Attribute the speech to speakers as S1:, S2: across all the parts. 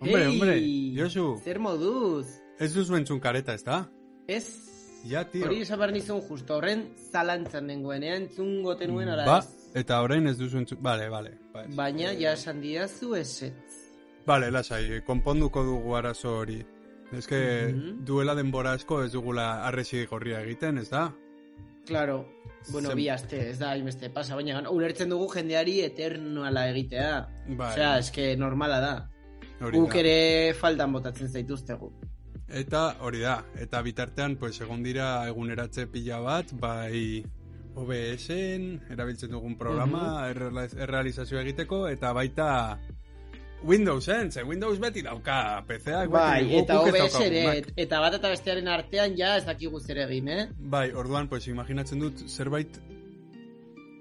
S1: Hombre,
S2: ¡Ey!
S1: hombre, Josu.
S2: Zer moduz.
S1: Ez duzu entzun kareta, ez da?
S2: Ez.
S1: Ja, tio.
S2: Hori esan behar nizun justo horren zalantzan nengoenean entzungo tenuen ara
S1: Ba,
S2: ez.
S1: eta orain ez duzu entzun... Bale, bale. Ba, ez.
S2: Baina ja esan didazu esetz.
S1: Bale, lasai, eh, konponduko dugu arazo hori. Ez que
S2: Mhm.
S1: duela denbora asko ez dugula arresi gorria egiten, ez da?
S2: Claro, bueno,
S1: Zen-
S2: bi aste, ez da, hainbeste pasa, baina gan- ulertzen dugu jendeari eternoala egitea.
S1: Bai,
S2: Osea, eske normala da.
S1: hori
S2: Guk
S1: da.
S2: ere faltan botatzen zaituztegu.
S1: Eta hori da, eta bitartean, pues, egon dira eguneratze pila bat, bai OBS-en, erabiltzen dugun programa,
S2: Mhm.
S1: errealiz- errealizazioa egiteko, eta baita Windowsen, ze Windows beti dauka, PC-ak
S2: Bai,
S1: beti dugu,
S2: eta
S1: guk ez
S2: OBS
S1: daukagu, bai.
S2: ere,
S1: Mac.
S2: eta bat eta bestearen artean ja ez dakigu zer egin, eh?
S1: Bai, orduan, pues, imaginatzen dut zerbait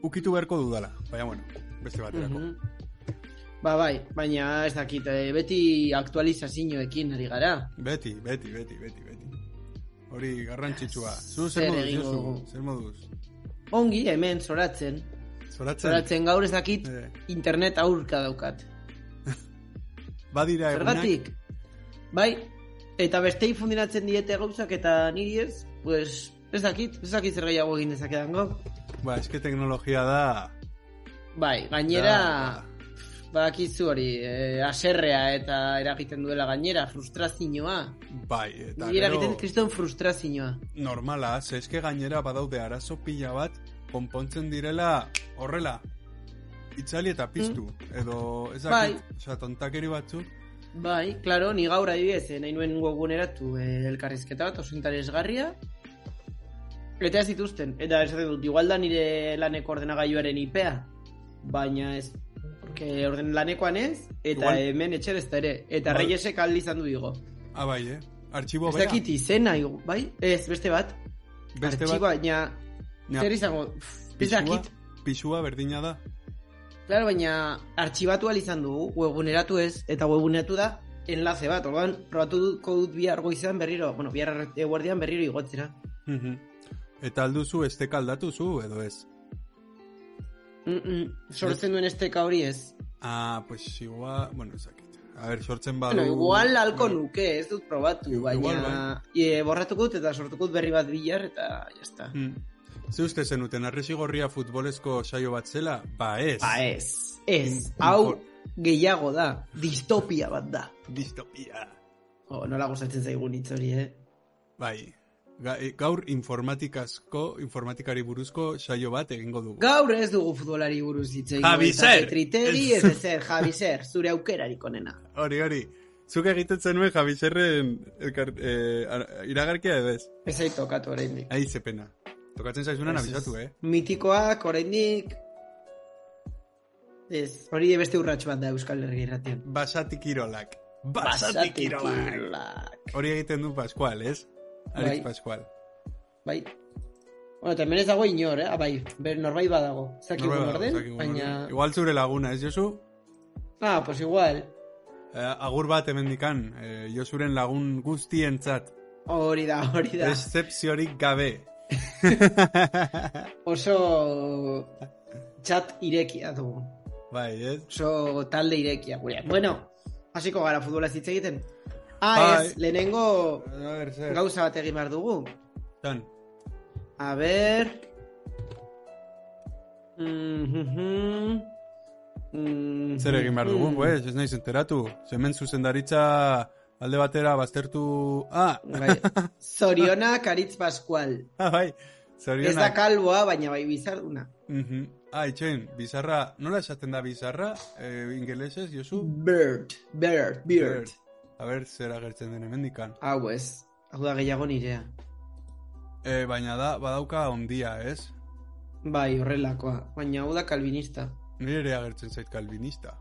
S1: ukitu beharko dudala. Baina, bueno, beste baterako.
S2: Mhm. Ba, bai, baina ez dakit, eh, beti aktualizazioekin ari gara.
S1: Beti, beti, beti, beti, beti. Hori garrantzitsua. Zu
S2: Zer
S1: zer moduz,
S2: egingo
S1: Josu?
S2: dugu?
S1: Zer moduz?
S2: Ongi, hemen, zoratzen.
S1: Zoratzen?
S2: Zoratzen gaur ez dakit,
S1: Eh,
S2: internet aurka daukat.
S1: badira Ba, egunak...
S2: Zergatik? Bai, eta bestei fundinatzen diete gauzak eta niri ez, pues, ez dakit, ez dakit zer gehiago egin dezakedan gaur.
S1: Ba, eske teknologia da...
S2: Bai,
S1: da-
S2: gainera, badakizu hori, eh, aserrea eta eragiten duela gainera, frustrazioa.
S1: Bai, eta
S2: Niri eragiten
S1: gero...
S2: dit kriston frustrazioa.
S1: Normala, ze eske gainera badaude arazo pila bat, konpontzen direla horrela. Itzali eta piztu.
S2: Mm.
S1: Edo, ez dakit, osea, tontakeri batzuk,
S2: Bai, claro, ni gaur adibidez, eh, nahi nuen goguneratu eh, elkarrizketa bat, oso interesgarria. Eta ez dituzten, eta esaten dut, igual da nire laneko ordenagailuaren IPA, baina ez, que orden lanekoan ez, eta
S1: Igual-
S2: hemen etxer ez da ere, eta
S1: Igual-
S2: reiesek aldi izan du digo.
S1: Ah, bai, eh? Artxibo
S2: Ez
S1: bera.
S2: dakit izena, igu- bai? Ez, beste bat,
S1: Beste
S2: artxibo,
S1: bat,
S2: baina,
S1: Ja.
S2: zer izango, pff, ez
S1: Pisua?
S2: dakit.
S1: pisua berdina da.
S2: Claro, baina artxibatu ahal izan dugu, webguneratu ez, eta webguneratu da enlace bat, orduan probatuko dut bihar goizean berriro, bueno, bihar guardian berriro igotzera.
S1: Mhm. Eta alduzu esteka aldatu zu, edo ez?
S2: Mm -mm, sortzen duen esteka hori ez.
S1: Ah, pues igual... Bueno, ez dakit. A ber, sortzen badu...
S2: Bueno, igual alko
S1: Bai.
S2: nuke, ez dut probatu,
S1: Igual, bai.
S2: baina e, borratuko dut eta sortuko dut berri bat bihar eta jazta.
S1: Mm. Ze uste zenuten, arresi gorria futbolezko saio bat zela? Ba ez.
S2: Ba ez, ez,
S1: In-
S2: hau
S1: infor-
S2: gehiago da, distopia bat da.
S1: Distopia.
S2: Oh, nola gustatzen zaigun hitz hori, eh?
S1: Bai. Ga- e, Gaur informatikazko, informatikari buruzko saio bat egingo dugu.
S2: Gaur ez dugu futbolari buruz hitz egin.
S1: Javi
S2: eta
S1: Zer!
S2: Triteri ez ezer, Javi Zer, zure aukerarik onena.
S1: Hori, hori. Zuk egiten zenuen Javiserren elkar, eh, ar- iragarkia edo ez?
S2: Ez zait tokatu oraindik.
S1: Ahi, ze pena. Tokatzen zaizunan
S2: Ez,
S1: abisatu,
S2: ez.
S1: eh?
S2: Mitikoak oraindik Ez, hori beste urrats bat da Euskal Herri irratian.
S1: Basati kirolak. Basati
S2: Basati
S1: kirolak.
S2: kirolak.
S1: Hori egiten du Pascual, ez? Aritz
S2: Bai.
S1: Pascual.
S2: Bai. Bueno, eta hemen ez dago inor, eh? Ah, bai, ber, norbait badago. Ez dakik
S1: Norbait
S2: no,
S1: badago,
S2: orden,
S1: dakigun
S2: baina...
S1: orden. Igual zure laguna, ez Josu?
S2: Ah, pues igual.
S1: Eh, agur bat hemendikan, eh, Josuren lagun guztientzat.
S2: Hori da, hori da.
S1: Excepziorik gabe.
S2: Oso txat irekia dugu.
S1: Bai, ez?
S2: oso talde irekia gureak. Bueno, hasiko gara futbolaz hitz egiten.
S1: Bai.
S2: Ah, ez, lehenengo
S1: A ber, zer.
S2: gauza bat egin behar dugu.
S1: Tan.
S2: A ber... Mhm. Mhm.
S1: Zer egin behar dugun, pues, ez naiz enteratu. Zemen zuzendaritza alde batera baztertu... Ah,
S2: Bai. Zorionak Aritz Pascual.
S1: ah, bai,
S2: Ez da
S1: zorionak.
S2: kalboa, baina bai bizarduna.
S1: Mhm. Ah, itxain, bizarra, nola esaten da bizarra? Eh, ingelesez, Josu?
S2: Bird, bird, bird.
S1: A ber, zer agertzen den hemendikan.
S2: Hau ez, hau da gehiago nirea.
S1: Eh, baina da, badauka ondia, ez?
S2: Bai, horrelakoa, baina hau da kalvinista.
S1: Nire ere agertzen zait kalvinista.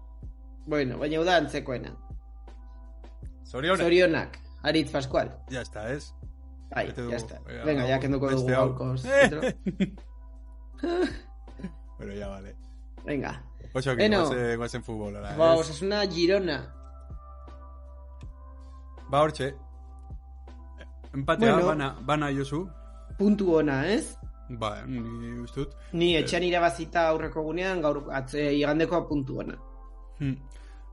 S2: Bueno, baina hau da antzekoena.
S1: Zorionak.
S2: Zorionak, Aritz Pascual.
S1: Ya está, ez?
S2: Bai,
S1: Bete dugu.
S2: ya está.
S1: Venga,
S2: Venga,
S1: hau,
S2: ya kenduko dugu
S1: beste hau.
S2: gaurkoz.
S1: Bueno, ya vale.
S2: Venga.
S1: Oso, que
S2: Beno.
S1: guazen, guazen futbolera,
S2: Ba,
S1: ez?
S2: osasuna Girona.
S1: Ba, hortxe. Empatea,
S2: Bueno.
S1: bana, bana, Josu.
S2: Puntu ona, ez?
S1: Ba, ni uste dut.
S2: Ni etxean irabazita aurreko gunean, gaur atze, igandeko puntu ona.
S1: Hm.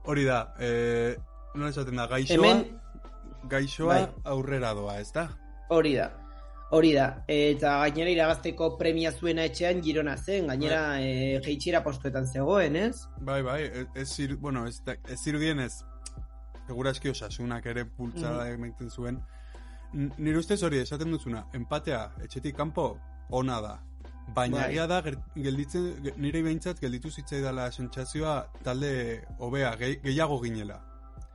S1: Hori Hmm. da, eh, nola esaten da, gaixoa,
S2: Hemen,
S1: gaixoa
S2: Bai.
S1: aurrera doa, ez da?
S2: Hori da. Hori da. Eta gainera irabazteko premia zuena etxean Girona zen, gainera e, jeitsiera postuetan zegoen, ez?
S1: Bai, bai, ez- ez, zir- bueno, ez, da- ez zirudien ez, seguraski osasunak ere pultzada egiten zuen. N- Nire ustez hori, esaten duzuna, empatea etxetik kanpo ona da. Baina
S2: Bai.
S1: egia da, ger- gelditzen, ge- nire behintzat gelditu zitzaidala sentsazioa talde hobea, gehi- gehiago ginela.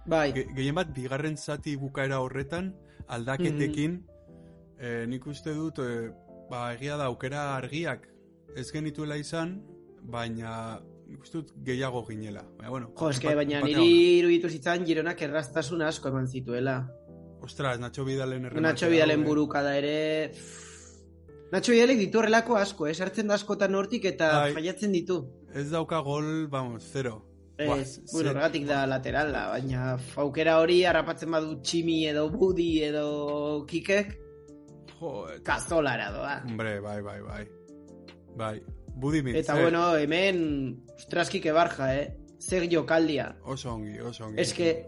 S2: Bai,
S1: Ge, gehien bat, bigarren zati bukaera horretan, aldaketekin,
S2: Mm.
S1: eh, nik uste dut, eh, ba, egia da, aukera argiak ez genituela izan, baina nik uste dut gehiago ginela. Baina, bueno,
S2: jo, eske,
S1: empat-
S2: baina
S1: empatea
S2: niri iruditu zitzan Gironak erraztasun asko eman zituela.
S1: ona. Ostras, Nacho Bidalen errematea.
S2: Nacho Bidalen
S1: hau, eh.
S2: burukada ere... Nacho Bidalek ditu horrelako asko, ez hartzen da askotan hortik eta
S1: Bai.
S2: jaiatzen ditu.
S1: Ez dauka gol, vamos, zero. Buah,
S2: Ez,
S1: ze-
S2: bueno, horregatik da laterala, baina aukera hori harrapatzen badu Tximi edo Budi edo Kikek,
S1: Jo, eh,
S2: kazolara doa.
S1: hombre, bai, bai, bai. Bai, Budimitz.
S2: Eta
S1: eh,
S2: bueno, hemen ustraski que barja, eh? Zer jokaldia.
S1: Oso ongi, oso ongi.
S2: Ez que,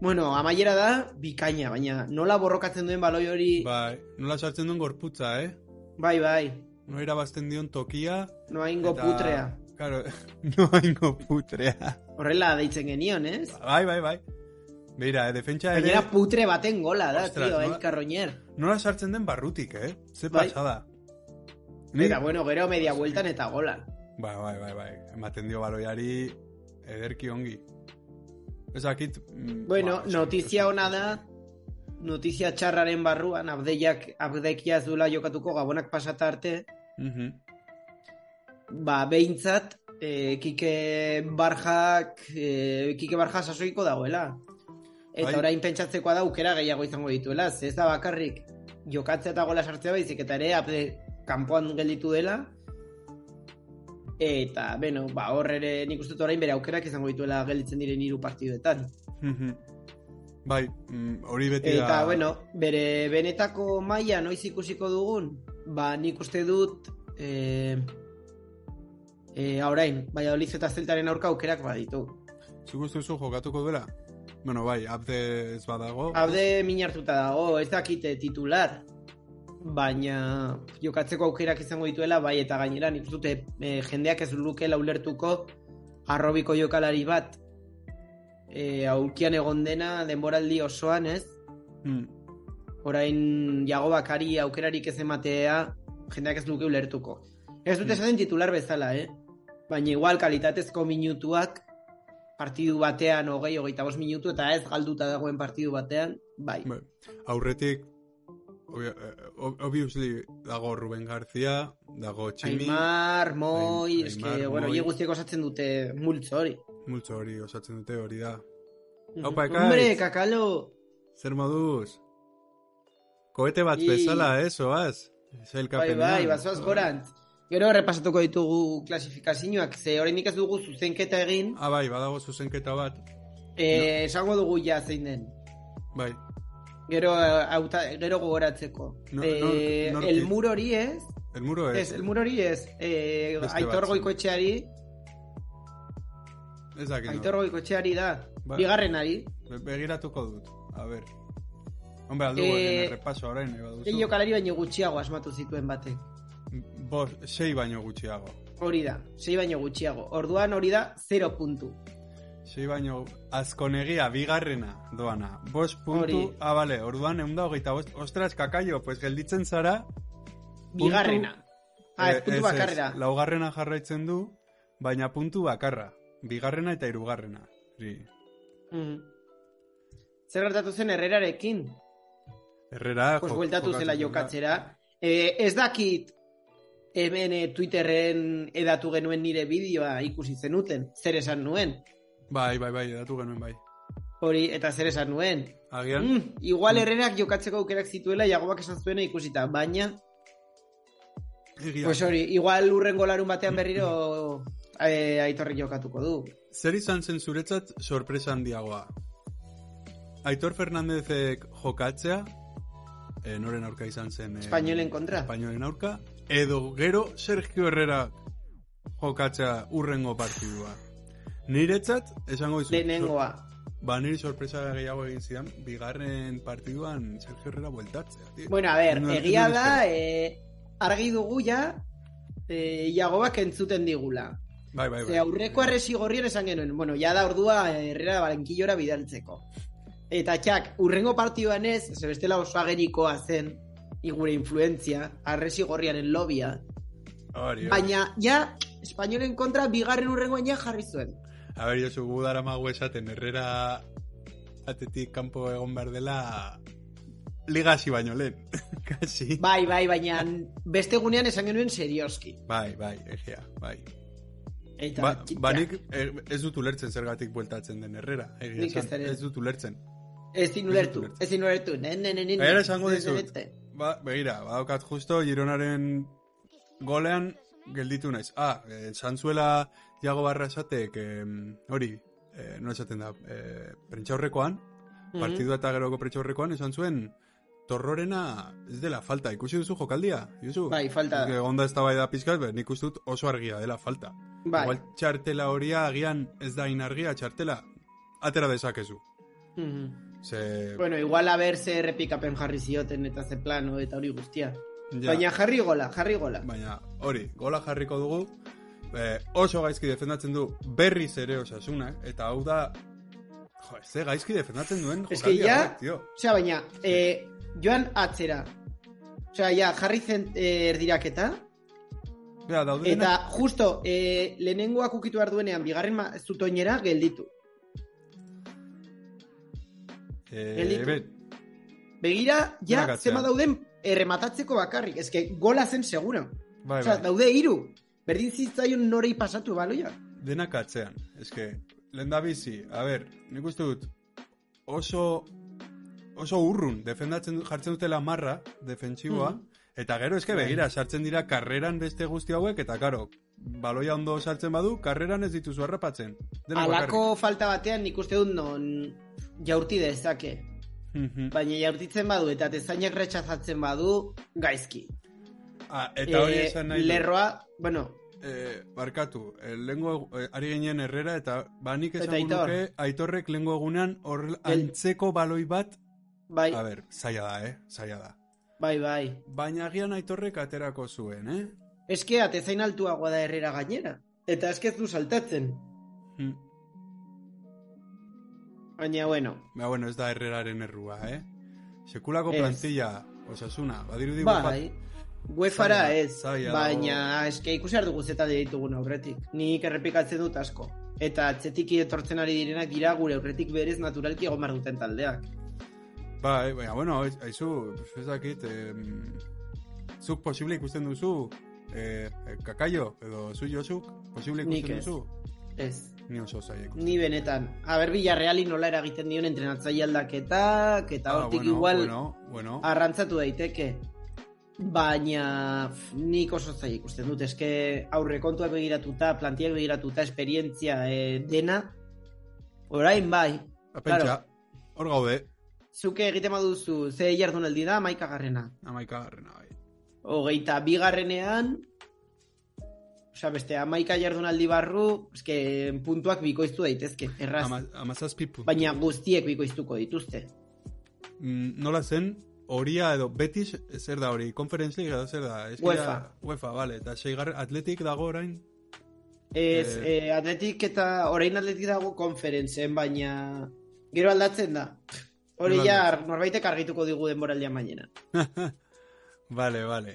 S2: bueno, amaiera da, bikaina, baina nola borrokatzen duen baloi hori...
S1: Bai, nola sartzen duen gorputza, eh?
S2: Bai, bai,
S1: Nola irabazten dion tokia,
S2: no haingo
S1: Eta-
S2: putrea.
S1: Claro, no haingo putrea.
S2: Horrela deitzen genion, ez?
S1: Bai, bai, bai. Beira, eh, defentsa ere,
S2: Gainera putre baten gola da,
S1: Ostras,
S2: tío,
S1: nola-
S2: el carroñer.
S1: nola sartzen den barrutik, eh? Ze
S2: Bai.
S1: pasada. Ni-
S2: Eta bueno, gero media vueltan eta gola.
S1: Bai, bai, bai, bai. Ematen dio baloiari ederki ongi. Ez dakit... mm,
S2: Bueno,
S1: ba, oso-
S2: notizia
S1: oso-
S2: ona da, notizia txarraren barruan, abdeiak, abdekia ez duela jokatuko gabonak pasata arte,
S1: Mhm.
S2: ba, behintzat, e, Kike Barjak, e, Kike Barja sasoiko dagoela. Eta
S1: Bai.
S2: orain pentsatzekoa da aukera gehiago izango dituela, ze ez da bakarrik jokatzea eta gola sartzea baizik, eta ere apde, kanpoan gelditu dela, Eta, beno, ba, hor ere nik uste dut orain bere aukerak izango dituela gelditzen diren hiru partiduetan.
S1: Mhm. bai, mm, hori beti da...
S2: Eta, bueno, bere benetako maila noiz ikusiko dugun, ba, nik uste dut, e, e, orain, Valladolid eta Zeltaren aurka aukerak baditu.
S1: Zuk uste duzu jokatuko duela? Bueno, bai, abde ez badago.
S2: Abde min hartuta dago, ez dakite titular, baina jokatzeko aukerak izango dituela, bai, eta gainera nik uste dut e, jendeak ez lukela ulertuko arrobiko jokalari bat, e, aulkian egon dena denboraldi osoan, ez?
S1: Mm.
S2: orain Iago Bakari aukerarik ez ematea jendeak ez luke ulertuko. Ez dut
S1: Mm.
S2: esaten titular bezala, eh? Baina igual kalitatezko minutuak partidu batean hogei, hogeita bost minutu eta ez galduta dagoen partidu batean, bai.
S1: Bai. Aurretik, obvia- eh, ob- obviously, dago Ruben García, dago Tximi,
S2: Aimar, Moi,
S1: Aim-
S2: eske,
S1: Aimar,
S2: bueno,
S1: Moi.
S2: hie guztiek osatzen dute multzo hori.
S1: multzo hori osatzen dute hori da. Aupa, ekaitz.
S2: Hombre, kakalo!
S1: Zer moduz? Koete bat
S2: I-
S1: bezala, eh, soaz?
S2: Bai,
S1: Zailkapenean.
S2: bai, bazoaz gorantz. Gero errepasatuko ditugu klasifikazioak, ze oraindik ez dugu zuzenketa egin,
S1: Ah, bai, badago zuzenketa bat.
S2: eh, esango dugu ja zein den.
S1: Bai,
S2: Gero, eh, auta, gero gogoratzeko.
S1: No-
S2: eh,
S1: nor- nortik.
S2: el muro hori ez,
S1: el muro
S2: ez,
S1: ez.
S2: el muro hori ez, eh,
S1: Beste
S2: aitor
S1: batzuk.
S2: goikoetxeari,
S1: Ez dakit.
S2: aitor
S1: no.
S2: goikoetxeari da,
S1: Ba-
S2: bigarrenari.
S1: Be- Begiratuko dut. A ber. Hombre, aldu
S2: Eh,
S1: eh... errepaso orain, eh,
S2: Sei
S1: baduzu.
S2: jokalari baino gutxiago asmatu zituen batek.
S1: Bos, sei baino gutxiago.
S2: Hori da, sei baino gutxiago. Orduan hori da, 0 puntu.
S1: Sei baino, azkonegia, bigarrena, doana. Bost puntu,
S2: Hori.
S1: ah, bale, orduan egun da hogeita bost. Ostras, kakaio, pues gelditzen zara.
S2: Bigarrena. Ah, ez
S1: Eh,
S2: puntu bakarrera.
S1: laugarrena jarraitzen du, baina puntu bakarra. Bigarrena eta hirugarrena. Hori,
S2: Mhm. Zer gertatu zen herrerarekin?
S1: Herrera,
S2: pues
S1: jo-
S2: bueltatu
S1: jokatzen
S2: zela
S1: duela.
S2: jokatzera. Eh, ez dakit hemen eh, Twitterren edatu genuen nire bideoa ikusi zenuten, zer esan nuen.
S1: Bai, bai, bai, edatu genuen bai.
S2: Hori, eta zer esan nuen.
S1: Agian,
S2: Mm, igual herrerak jokatzeko aukerak zituela jagoak esan zuena ikusita, baina,
S1: egia.
S2: pues hori, igual urrengo larun batean berriro eh, aitorri jokatuko du.
S1: Zer izan zen zuretzat sorpresa handiagoa? Aitor Fernandezek jokatzea, eh, noren aurka izan zen... Eh,
S2: Espainolen kontra.
S1: Espainolen aurka, edo gero Sergio Herrera jokatzea urrengo partidua. Niretzat, esango izu,
S2: Lehenengoa.
S1: ba, niri sorpresa gehiago egin zidan, bigarren partiduan Sergio Herrera bueltatzea, tío.
S2: Bueno, a ber,
S1: No,
S2: egia
S1: no
S2: da,
S1: espero.
S2: eh, argi dugu ja, eh, Iagobak entzuten digula.
S1: bai, bai, bai.
S2: Ze aurreko arresi gorrien esan genuen, bueno, ja da ordua eh, herrera balenkillora bidaltzeko. Eta txak, urrengo partioan ez, ze bestela oso agerikoa zen, igure influentzia, arresi gorriaren lobia.
S1: Hori, hori.
S2: Baina, ja, espainolen kontra bigarren urrengoan ja jarri zuen.
S1: A ber, Josu, gu dara mago esaten, herrera atetik kanpo egon behar dela liga hasi baino lehen, kasi.
S2: Bai, bai, baina beste gunean esan genuen serioski.
S1: Bai, bai, egia, bai.
S2: Eta,
S1: Ba,
S2: txak,
S1: ba nik eh, ez dut ulertzen zergatik bueltatzen den herrera, egia
S2: Nik ez
S1: esan,
S2: ere.
S1: ez dut ulertzen.
S2: ezin ulertu, ezin ulertu. Ne, ne, ne, ne, ne,
S1: Baina esango
S2: ne,
S1: dizut.
S2: ne, ne, ne.
S1: Ba, begira, badaukat justo Gironaren golean gelditu naiz. Ah, eh, Santzuela Iago Barra esatek, em, hori, eh, no esaten da, eh, prentxaurrekoan,
S2: Mhm.
S1: partidua eta geroko prentxaurrekoan, esan zuen, torrorena ez dela falta, ikusi duzu jokaldia, Josu?
S2: Bai, falta da.
S1: Eske Onda ez da bai da pizkat, baina nik uste dut oso argia dela falta.
S2: Bai.
S1: Igual txartela horia, agian ez da inargia, txartela, atera dezakezu.
S2: Mhm.
S1: Ze,
S2: Bueno, igual a ber ze errepikapen jarri zioten eta ze plano eta hori guztia.
S1: ja.
S2: Baina jarri gola, jarri gola.
S1: Baina, hori, gola jarriko dugu, eh, oso gaizki defendatzen du berriz ere osasunak, eta hau da, jo, ze gaizki defendatzen duen
S2: Es que ya-
S1: horrek, tio.
S2: Osea, baina, eh, joan atzera. Osea, ja, jarri zen eh, erdiraketa.
S1: Bea, daude
S2: Eta justo, eh, lehenengoak ukitu behar duenean, bigarren ma- zutoinera gelditu.
S1: Eh,
S2: gelditu. Begira, ja,
S1: Benakatzea.
S2: zema dauden errematatzeko bakarrik. Ez que gola zen segura.
S1: bai,
S2: Osea,
S1: bai,
S2: daude hiru. Berdin zitzaion norei pasatu, baloia.
S1: denak atzean. Es que, lehen da bizi, a ber, nik uste dut, oso, oso urrun, defendatzen du- jartzen dutela marra, defentsiboa,
S2: Mhm.
S1: Eta gero eske
S2: Bai.
S1: begira, sartzen dira karreran beste guzti hauek, eta karo, baloia ondo sartzen badu, karreran ez dituzu harrapatzen. Denak bakarrik.
S2: Alako falta batean nik uste dut non jaurti dezake.
S1: Mhm.
S2: Baina jaurtitzen badu eta tezainak retxazatzen badu, gaizki.
S1: Ah, eta hori
S2: Eh,
S1: esan nahi dut.
S2: Lerroa, bueno,
S1: Eh, barkatu, eh, lehengo, eh, ari ginen herrera eta banik
S2: Eta
S1: esango
S2: Aitor.
S1: nuke aitorrek lehengo egunean horrel
S2: El-
S1: antzeko baloi bat,
S2: bai,
S1: a ber, zaila da, eh, zaila da.
S2: bai, bai.
S1: Baina agian aitorrek aterako zuen, eh?
S2: Ez que atezain altuagoa da herrera gainera. Eta ez que ez du saltatzen.
S1: Hm.
S2: Baina, bueno,
S1: Ba, bueno, ez da herreraren errua, eh? Sekulako
S2: Ez.
S1: plantilla, osasuna, badirudi
S2: bai. Uefara
S1: Zaila-
S2: ez,
S1: zaila
S2: baina eske ikusi hartu guztetan ditugun aurretik. Nik errepikatzen dut asko. Eta atzetik etortzen ari direnak dira gure aurretik berez naturalki egon behar duten taldeak.
S1: Bai, baina, bueno, haiz- haizu, pues, ez dakit, em, zuk posible ikusten duzu, eh, kakaio, edo zu jozuk, posible
S2: Nik
S1: ikusten
S2: ez.
S1: duzu,
S2: Ez,
S1: ni oso zaila ikusten.
S2: ni benetan. Aber Villarreali nola eragiten dion entrenatzaile aldaketak, eta hortik igual
S1: Ah,
S2: Ah,
S1: Bueno, bueno.
S2: arrantzatu daiteke. Baina pf, nik oso zaila ikusten dut, eske aurrekontuak begiratuta, plantiak begiratuta, esperientzia eh, dena, orain bai,
S1: Apentsa,
S2: claro.
S1: hor gaude,
S2: zuke egiten baduzu, ze jardunaldi da, maika garrena.
S1: amaika garrena bai.
S2: Hogeita bigarrenean, osea beste, amaika jardunaldi barru, eske puntuak bikoiztu daitezke, erraz.
S1: Ama, amazazpi puntu.
S2: Baina guztiek bikoiztuko dituzte.
S1: Mm, nola zen, horia edo, betis, zer da hori, conference league edo zer da? Ez
S2: UEFA.
S1: UEFA, bale, eta seigarren, atletik dago orain,
S2: Ez,
S1: Eh.
S2: eh, atletik eta orain atletik dago konferentzen, baina gero aldatzen da. Hori
S1: Gero
S2: ja norbaitek argituko digu denboraldian bainena.
S1: bale, bale.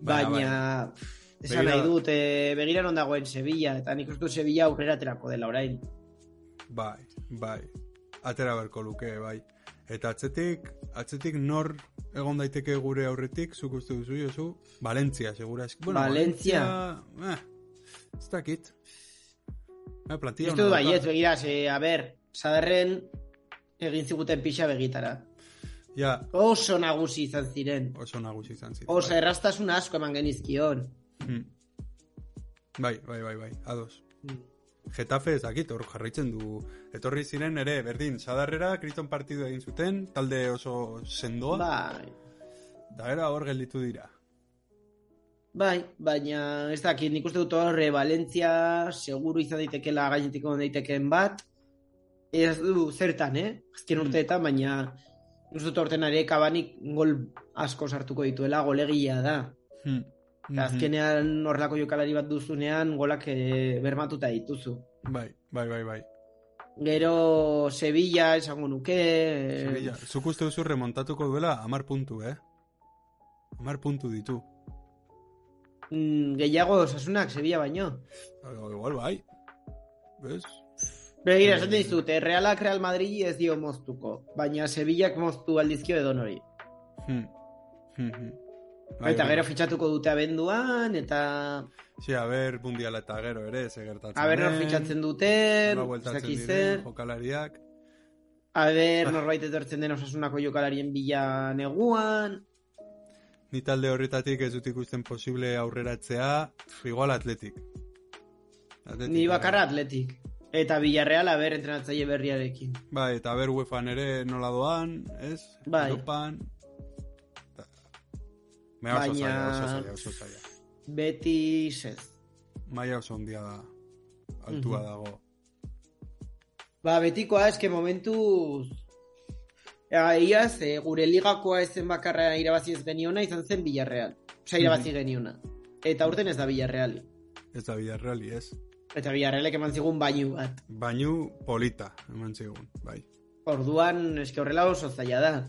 S2: Baina, pff, esan
S1: Begira-
S2: nahi dut, eh, begira non dagoen Sevilla, eta nik uste dut Sevilla aurrera aterako dela orain.
S1: Bai, bai, atera berko luke, bai. Eta atzetik, atzetik nor egon daiteke gure aurretik, zuk uste duzu, Josu? Valentzia, segurazki.
S2: Valentzia.
S1: Valentzia, eh, ez dakit. Eh, plantilla
S2: Uste dut bai.
S1: ona dauka.
S2: baiet, begira, ze, a ber, sadarren egin ziguten pixa begitara.
S1: Ja,
S2: Oso nagusi izan ziren.
S1: oso nagusi izan ziren.
S2: Oso er- errastasun asko eman genizkion.
S1: Mm. Bai, bai, bai, bai, ados. Getafe ez dakit, hor jarraitzen du. Etorri ziren ere, berdin, sadarrera, kriston partidu egin zuten, talde oso sendoa,
S2: Bai,
S1: da era hor gelditu dira.
S2: bai, baina ez dakit, eh, nik uste dut horre Valentzia seguru izan daitekela gainetik egon daitekeen bat, ez du zertan, eh?
S1: Mm.
S2: Azken urteetan, baina uste dut orten ere kabanik gol asko sartuko dituela, golegia da.
S1: Hmm.
S2: Eta azkenean horrelako jokalari bat duzunean golak eh, bermatuta dituzu.
S1: Bai, bai, bai, bai.
S2: Gero Sevilla esango nuke. eh,
S1: Sevilla. Zuk uste duzu remontatuko duela amar puntu, eh? Amar puntu ditu.
S2: mm, Gehiago osasunak Sevilla baino.
S1: O, Igual bai. ¿Ves?
S2: Begira,
S1: Eh.
S2: esaten dizut, eh, Realak Real Madrid ez dio moztuko, baina Sevillak moztu aldizkio edon hori.
S1: Hmm. Hmm, hmm. Bai,
S2: Eta
S1: bai.
S2: gero fitxatuko dute abenduan, eta
S1: Sí, a ver, mundiala eta gero ere, ze gertatzen.
S2: aber nor fitxatzen duten,
S1: nola
S2: ez
S1: bueltatzen
S2: dakit
S1: diren, Ah.
S2: zer.
S1: jokalariak.
S2: Aber norbait etortzen den osasunako jokalarien bila neguan.
S1: Ni talde horretatik ez dut ikusten posible aurreratzea, pf, igual bai. atletik. atletik
S2: Ni bakarra atletik. Eta Villarreal aber entrenatzaile berriarekin.
S1: Bai, eta ber UEFan ere nola doan, ez?
S2: Bai.
S1: Europan. Eta- Baina oso
S2: Baina-
S1: zaila, oso zaila, oso zaila.
S2: Beti ez.
S1: Maia oso ondia da. Altua
S2: Mhm.
S1: dago.
S2: Ba, betikoa, eske momentuz... Ea, ia, ze, gure ligakoa ez zen bakarra irabazi ez geniona, izan zen Villarreal. Osa, irabazi geniona. Eta aurten ez da Villarreal.
S1: Ez da bidarreali, ez?
S2: Eta Villarrealek eman zigun bainu bat.
S1: Bainu polita, eman zigun, bai.
S2: Orduan, eske horrela oso zaila da.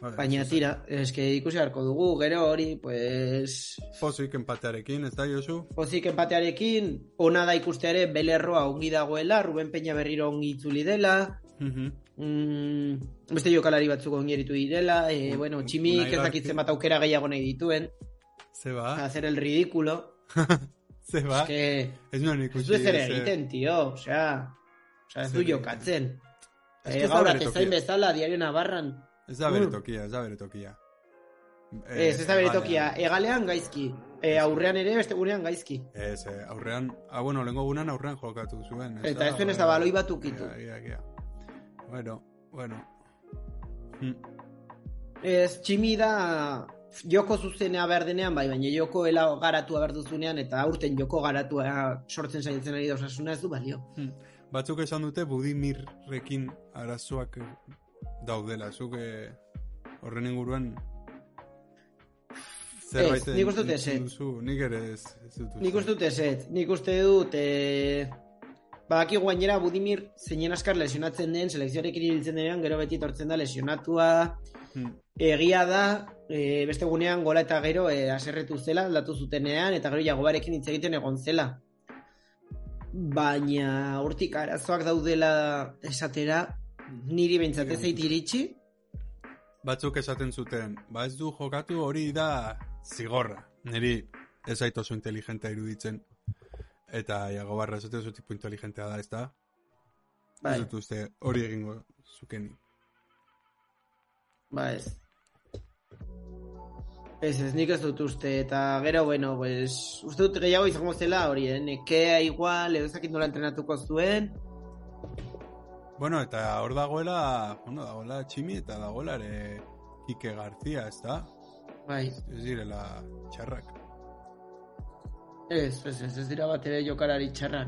S1: Bai,
S2: Baina
S1: oso
S2: tira, eske ikusi harko dugu, gero hori, pues...
S1: zaila. Pozik empatearekin, ez da, Josu?
S2: Pozik empatearekin, ona da ikusteare belerroa ongi dagoela, Ruben Peña berriro ongi itzuli dela,
S1: Mhm.
S2: Mm, beste jokalari batzuk ongeritu direla, e,
S1: Un-
S2: bueno,
S1: un-
S2: tximik
S1: Unai
S2: ez
S1: García.
S2: dakitzen bat aukera gehiago nahi dituen,
S1: Ah. Ze ba,
S2: hacer el ridículo,
S1: ze ba.
S2: que
S1: Ez nuen
S2: ez
S1: ikusi.
S2: du ezer
S1: ze-
S2: egiten, tio, osea, osea, ez
S1: Zer
S2: du
S1: egiten.
S2: jokatzen.
S1: Ez que
S2: E,
S1: ez da
S2: gaur
S1: bere
S2: atezain
S1: tokia.
S2: bezala, diario nabarran,
S1: Ez da bere
S2: Mm.
S1: tokia, ez da bere tokia. Eh,
S2: ez ez da bere
S1: vale.
S2: tokia, egalean gaizki, e, aurrean ere beste gurean gaizki.
S1: Ez, eh, aurrean, ah, bueno, lengo gunan aurrean jokatu zuen.
S2: Eta ez zuen ez da baloi bat ukitu.
S1: Ia, ia, ia. Bueno, bueno. Hm,
S2: Ez, tximi da joko zuzenea behar denean, bai, baina joko ela garatua behar duzunean, eta aurten joko garatua sortzen saiatzen ari da osasuna ez du balio.
S1: hm. Batzuk esan dute Budimirrekin arazoak eh, daudela, zuk eh, horren inguruan zerbait
S2: nik uste dut ez,
S1: entzun
S2: eh.
S1: duzu, nik ere ez, ez dut.
S2: Nik uste dut ezetz, nik uste dut, e... Badaki guainera Budimir zeinen askar lesionatzen den, selekzioarekin ibiltzen denean, gero beti tortzen da lesionatua,
S1: Hm,
S2: egia da, e, beste gunean gola eta gero e, aserretu zela, aldatu zutenean, eta gero jagobarekin hitz egiten egon zela. Baina hortik arazoak daudela esatera, niri behintzat ez zait iritsi,
S1: Batzuk esaten zuten, ba ez du jokatu hori da zigorra. Niri ez zait oso inteligentea iruditzen. Eta Iago Barra esaten zu tipo inteligentea da, ez da?
S2: bai,
S1: Ez dut uste hori egingo zukeni.
S2: ba ez. Ez ez, nik ez dut uste, eta gero, bueno, pues, uste dut gehiago izango zela hori, eh? nekea igual, edo ezakit nola entrenatuko zuen,
S1: Bueno, eta hor dagoela, bueno, dagoela Tximi eta dagoela ere Kike García, ez da?
S2: bai,
S1: Ez direla txarrak.
S2: Ez, ez, ez, ez dira bat ere jokalari txarra.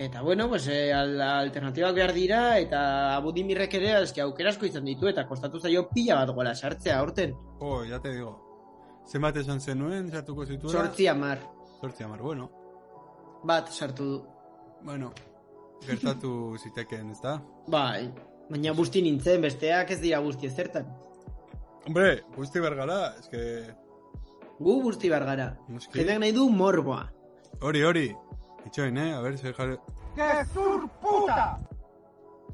S2: Eta bueno, pues, eh, al- alternatibak behar dira, eta Budimirrek ere eski aukera asko izan ditu, eta kostatu zaio pila bat gola sartzea aurten.
S1: Oh, ya te digo. Zenbat esan zenuen, sartuko zituela?
S2: Sortzi amar,
S1: Sortzi amar, bueno.
S2: bat sartu du.
S1: Bueno, gertatu zitekeen, ez da?
S2: Bai, baina busti nintzen, besteak ez dira busti ezertan.
S1: Hombre, guzti bergara, ez que...
S2: Gu busti behar gara.
S1: Noski.
S2: Jendeak nahi du morboa.
S1: Hori, hori. Itxoin, eh? A ber, zer jarri...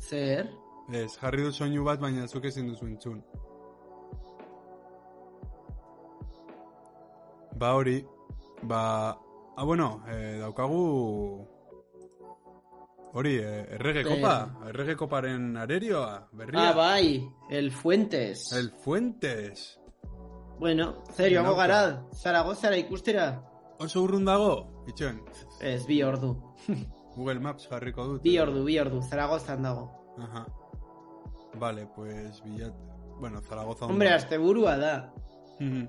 S2: Zer?
S1: Ez, jarri du soinu bat, baina zuk ezin duzu entzun. Ba hori, ba... Ah, bueno, eh, daukagu... Hori, eh, errege
S2: Zer?
S1: kopa, errege koparen arerioa, berria.
S2: Ah, bai, el Fuentes.
S1: El Fuentes.
S2: Bueno, zer, joango
S1: Nauka.
S2: gara, Zaragozara ikustera.
S1: Oso urrun dago, itxoin.
S2: Ez, bi ordu.
S1: Google Maps jarriko dut. eh.
S2: Bi ordu, bi ordu, Zaragozan dago.
S1: Aha. Vale, pues bilat... Bueno, Zaragoza... ondo.
S2: Hombre, asteburua da,
S1: Mhm.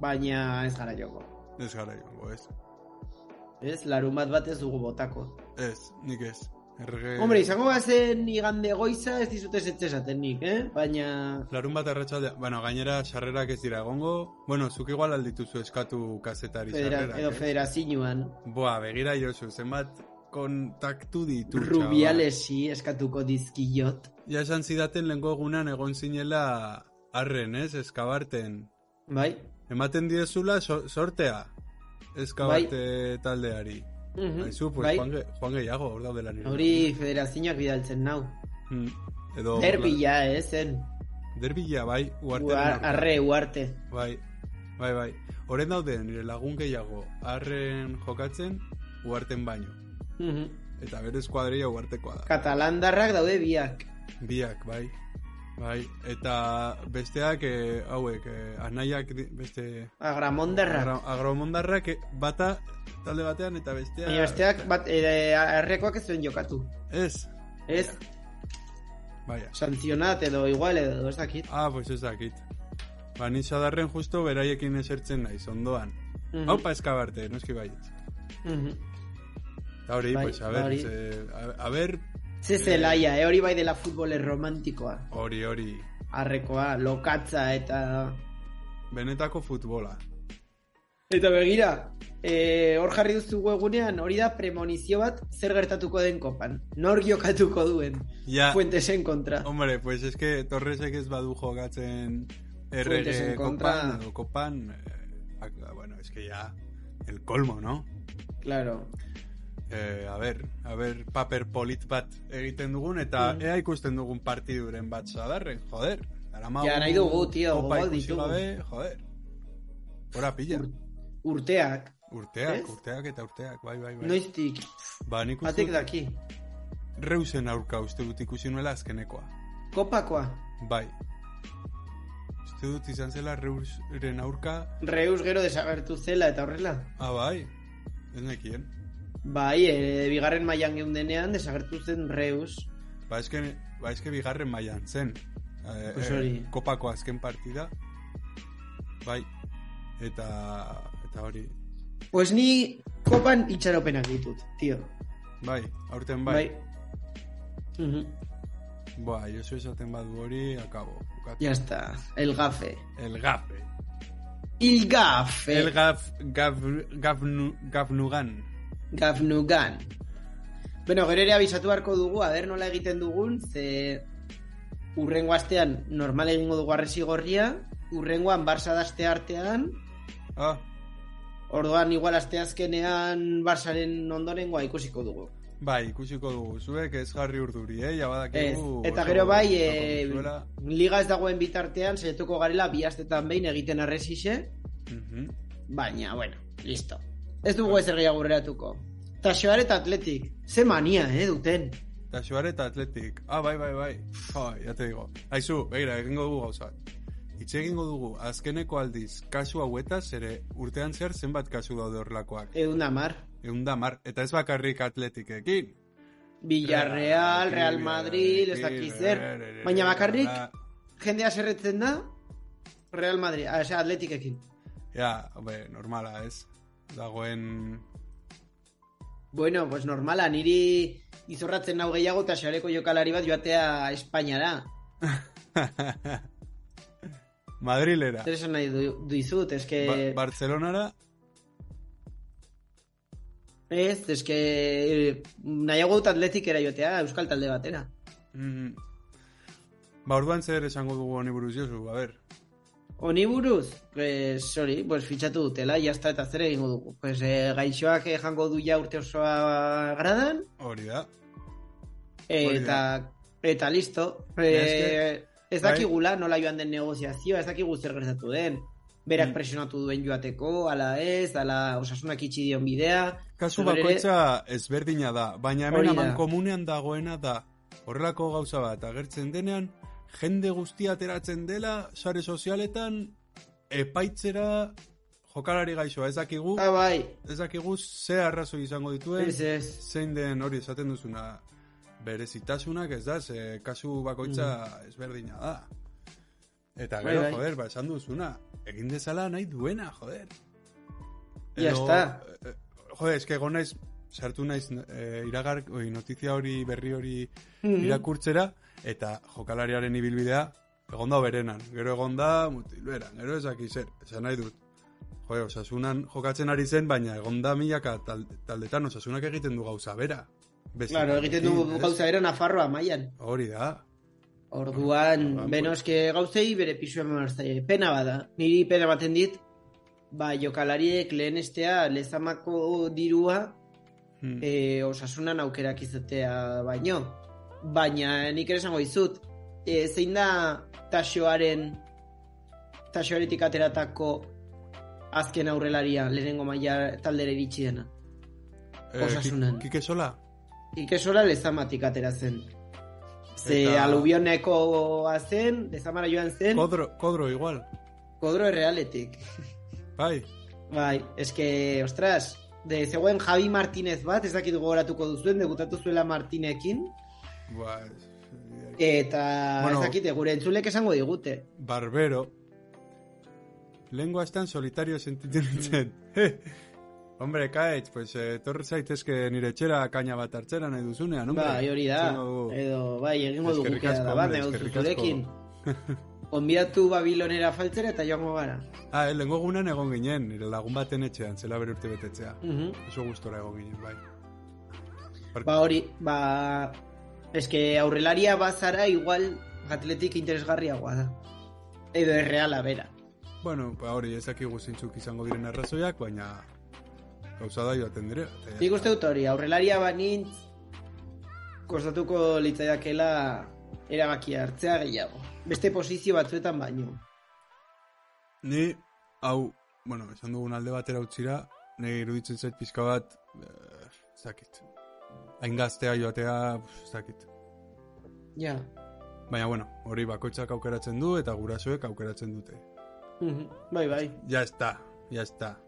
S2: baina ez gara joko.
S1: Ez gara joango, ez.
S2: Ez, larun bat bat ez dugu botako.
S1: Ez, nik ez. Errege...
S2: Hombre, izango bazen igande goiza ez dizute zetxe esaten nik, eh? Baina...
S1: Larun bat arratsaldea, bueno, gainera sarrerak ez dira egongo. Bueno, zuk igual aldituzu eskatu kazetari
S2: Federa,
S1: sarrerak.
S2: edo
S1: eh?
S2: federazioan.
S1: Boa, begira jozu, zenbat kontaktu ditu. txabar.
S2: Rubialesi eskatuko dizkiot.
S1: Ja esan zidaten lehenko egunan egon zinela arren, ez? Eskabarten.
S2: Bai?
S1: Ematen diezula so- sortea. Eskabarte taldeari.
S2: Mhm,
S1: Aizu, pues
S2: bai.
S1: Juan, Ge- Juan Gehiago, hor daude lan.
S2: Hori federazioak bidaltzen nau.
S1: Mm, Edo...
S2: Derbia, eh, zen.
S1: Derbila, bai, uarteren
S2: Uar-
S1: aurka.
S2: Arre, uarte.
S1: Bai, bai, bai. Horen daude nire lagun gehiago arren jokatzen uarten baino.
S2: Mhm.
S1: Eta bere eskuadrilla uartekoa da.
S2: Katalandarrak daude biak.
S1: Biak, bai. Bai, eta besteak, eh, hauek, eh, anaiak, di- beste...
S2: Agramondarrak.
S1: agra- Agromondarrak eh, bata talde batean eta bestea...
S2: Baina besteak bat, ere, arrekoak ez zuen jokatu.
S1: Ez,
S2: Ez,
S1: baina.
S2: santzionat edo igual edo ez dakit.
S1: Ah, pues ez dakit. Ba, ni sadarren justo beraiekin esertzen naiz, ondoan.
S2: Mhm,
S1: Hau pa eskabarte, noski baietz.
S2: mhm.
S1: Eta hori,
S2: Bai,
S1: pues, a ber,
S2: hori.
S1: ze- a, a ber,
S2: Ze zelaia, eh, hori bai dela futbole romantikoa.
S1: hori, hori,
S2: Arrekoa, lokatza eta...
S1: benetako futbola.
S2: Eta begira, eh, hor jarri duzu webgunean, hori da premonizio bat zer gertatuko den kopan. Nor jokatuko duen,
S1: Ja,
S2: Fuentesen kontra.
S1: hombre, pues es que Torresek ez badu jokatzen errege
S2: Fuentesen kontra.
S1: kopan, edo kopan, eh, ak- bueno, es que ya, el colmo, ¿no?
S2: Claro.
S1: Eh, a ber, a ber, paper polit bat egiten dugun, eta
S2: Mm.
S1: ea ikusten dugun partiduren bat sadarren, joder. Daramagu
S2: Ja, nahi dugu, tio,
S1: kopa
S2: gogol
S1: ikusi
S2: ditugu.
S1: gabe, joder. Hora pilla,
S2: Ur- Urteak,
S1: urteak,
S2: ez?
S1: urteak eta urteak, bai, bai, bai.
S2: noiztik,
S1: ba, nik uste
S2: batek
S1: dut-
S2: daki.
S1: Reusen aurka uste dut ikusi nuela azkenekoa.
S2: Kopakoa,
S1: Bai. Uste dut izan zela Reusen aurka...
S2: reus gero desagertu zela eta horrela.
S1: Ah, bai. Ez nekien.
S2: Bai, e, bigarren mailan geundenean desagertu zen reus.
S1: Ba, eske, ba, eske bigarren mailan zen. Eh,
S2: Pues
S1: eh,
S2: hori.
S1: kopako azken partida. Bai. Eta... Eta hori.
S2: Pues ni kopan itxaropenak ditut, tio.
S1: Bai, aurten bai.
S2: Bai. Mhm.
S1: Boa, Josu esaten badu hori, akabo. Bukatu.
S2: Ya está, el gafe.
S1: El gafe.
S2: Il gafe.
S1: El gaf... gaf... gafnu, gafnugan.
S2: Gafnugan. Bueno, gero ere abisatu beharko dugu, aber nola egiten dugun, ze urrengo astean normal egingo dugu arresi gorria, urrengoan Barça daste artean,
S1: Ah,
S2: orduan igual asteazkenean Barsaren ondorengoa ikusiko dugu.
S1: Bai, ikusiko dugu. Zuek ez jarri urduri, eh? Ja
S2: Ez,
S1: badakigu.
S2: eta
S1: oso
S2: gero bai,
S1: gustatuko
S2: e,
S1: duzuela.
S2: liga ez dagoen bitartean, saietuko garela bi astetan behin egiten arresixe,
S1: Mhm.
S2: baina, bueno, listo. Ez dugu ezer gehiago aurreratuko. Taxoar eta atletik, ze mania, eh, duten.
S1: Eta Suar eta Atletik. Ah, bai, bai, bai. Jo, ya te digo. Aizu, begira, egingo dugu gauza. Itxe egingo dugu, azkeneko aldiz, kasu hauetaz, ere urtean zehar zenbat kasu daude horlakoak.
S2: Edun amar.
S1: Egun da mar, eta ez bakarrik Atletikekin.
S2: Villarreal, Real Madrid, ez dakiz zer. Baina bakarrik, jendea zerretzen da, Real Madrid, ah, osea, atletikekin.
S1: Ja, be, normala, ez? Dagoen...
S2: Bueno, pues normala, niri izorratzen nau gehiago eta xareko jokalari bat joatea Espainara.
S1: Madrilera.
S2: Zer eh, esan nahi du, duizut, eske...
S1: Ba Barcelonara,
S2: Ez, eske... eh, Nahiago dut atletikera joatea, euskal talde batera.
S1: Mm. Ba, orduan zer esango dugu honi buruz Josu, a ber.
S2: Honi buruz, pues, hori, pues, fitxatu dutela, jazta eta zer egingo dugu. Pues, eh, gaixoak eh, jango du ja urte osoa gradan, eh,
S1: Hori da. Hori da.
S2: Eta, eta listo.
S1: eske-
S2: E, ez
S1: Bai.
S2: dakigula nola joan den negoziazioa, ez dakigu zer gertatu den. Berak
S1: Mm.
S2: presionatu duen joateko, ala ez, ala osasunak itxi dion bidea.
S1: Kasu
S2: Zer ere-
S1: bakoitza ezberdina da, baina hemen
S2: Hori da.
S1: aman komunean dagoena da horrelako gauza bat agertzen denean, jende guztia ateratzen dela, sare sozialetan, epaitzera jokalari gaixoa, ez dakigu,
S2: Ah, bai,
S1: ez dakigu ze arrazo izango dituen,
S2: ez ez.
S1: zein den hori esaten duzuna berezitasunak ez da, ze kasu bakoitza ezberdina da. Eta
S2: Mm. Bai,
S1: gero,
S2: bai.
S1: joder, ba, esan duzuna, egin dezala nahi duena, joder.
S2: Ya está.
S1: eh, eh, jo, eske gonaiz sartu naiz e, iragar, oi, notizia hori berri hori mm.
S2: Mm-hmm.
S1: irakurtzera eta jokalariaren ibilbidea egon da berenan, gero egon da mutilueran, gero ezaki zer, esan nahi dut. Jo, osasunan jokatzen ari zen, baina egon da milaka tal- taldetan osasunak egiten du gauza bera. Beste
S2: Claro, egiten
S1: batekin,
S2: du
S1: ez?
S2: gauza bera Nafarroa mailan.
S1: Hori da.
S2: Orduan,
S1: Orduan,
S2: benoske gauzei bere pisu eman hartzaile. Pena bada, niri pena baten dit, ba, jokalariek lehenestea lezamako dirua
S1: Hmm.
S2: e, osasunan aukerak izatea baino. Baina nik ere esango dizut, e, zein da tasioaren tasioaretik ateratako azken aurrelaria lehenengo maila taldera iritsi dena.
S1: Eh,
S2: Osasunan.
S1: Ki- Kike Sola?
S2: Ikesola lezamatik atera zen. Ze
S1: Eta-
S2: alubioneko zen, lezamara joan zen,
S1: Kodro, kodro igual.
S2: kodro errealetik.
S1: Bai.
S2: Bai, eske, ostras, de zegoen Javi Martínez bat, ez dakit gogoratuko duzuen, debutatu zuela Martinekin,
S1: Ba, eh,
S2: Eta
S1: Bueno.
S2: ez dakite, gure entzulek esango digute.
S1: barbero. Lengua estan solitario sentitzen nintzen. Hombre, kaetz, pues, eh, torri zaitezke nire etxera kaina bat hartzera nahi duzunean, hombre.
S2: Bai, hori da.
S1: Esango dugu.
S2: Edo, bai, egingo dugu
S1: Eskerrik
S2: keda
S1: asko,
S2: da, bat,
S1: hombre,
S2: nahi dut
S1: eskerrik asko.
S2: zurekin. Onbiatu Babilonera faltzera eta joango gara.
S1: Ah, eh, lehengo egunan egon ginen, nire lagun baten etxean, zela bere urte betetzea.
S2: Mhm.
S1: Oso gustora egon ginen, bai.
S2: Ba hori, ba... Eske aurrelaria bazara igual atletik interesgarriagoa da. Edo erreala, bera.
S1: Bueno, ba hori, ez dakigu zintzuk izango diren arrazoiak, baina gauza da joaten dire. eta-
S2: Nik uste dut hori, aurrelaria banintz kostatuko litzaidakela erabakia hartzea gehiago. Beste posizio batzuetan baino.
S1: Ni, hau, bueno, esan dugun alde batera utzira, nire iruditzen zait pixka bat, eh, ez dakit. Hain gaztea joatea, pf, ez dakit.
S2: Ja.
S1: Baina, bueno, hori bakoitzak aukeratzen du eta gurasoek aukeratzen dute.
S2: Mhm. Bai, bai.
S1: Ya está, ya está.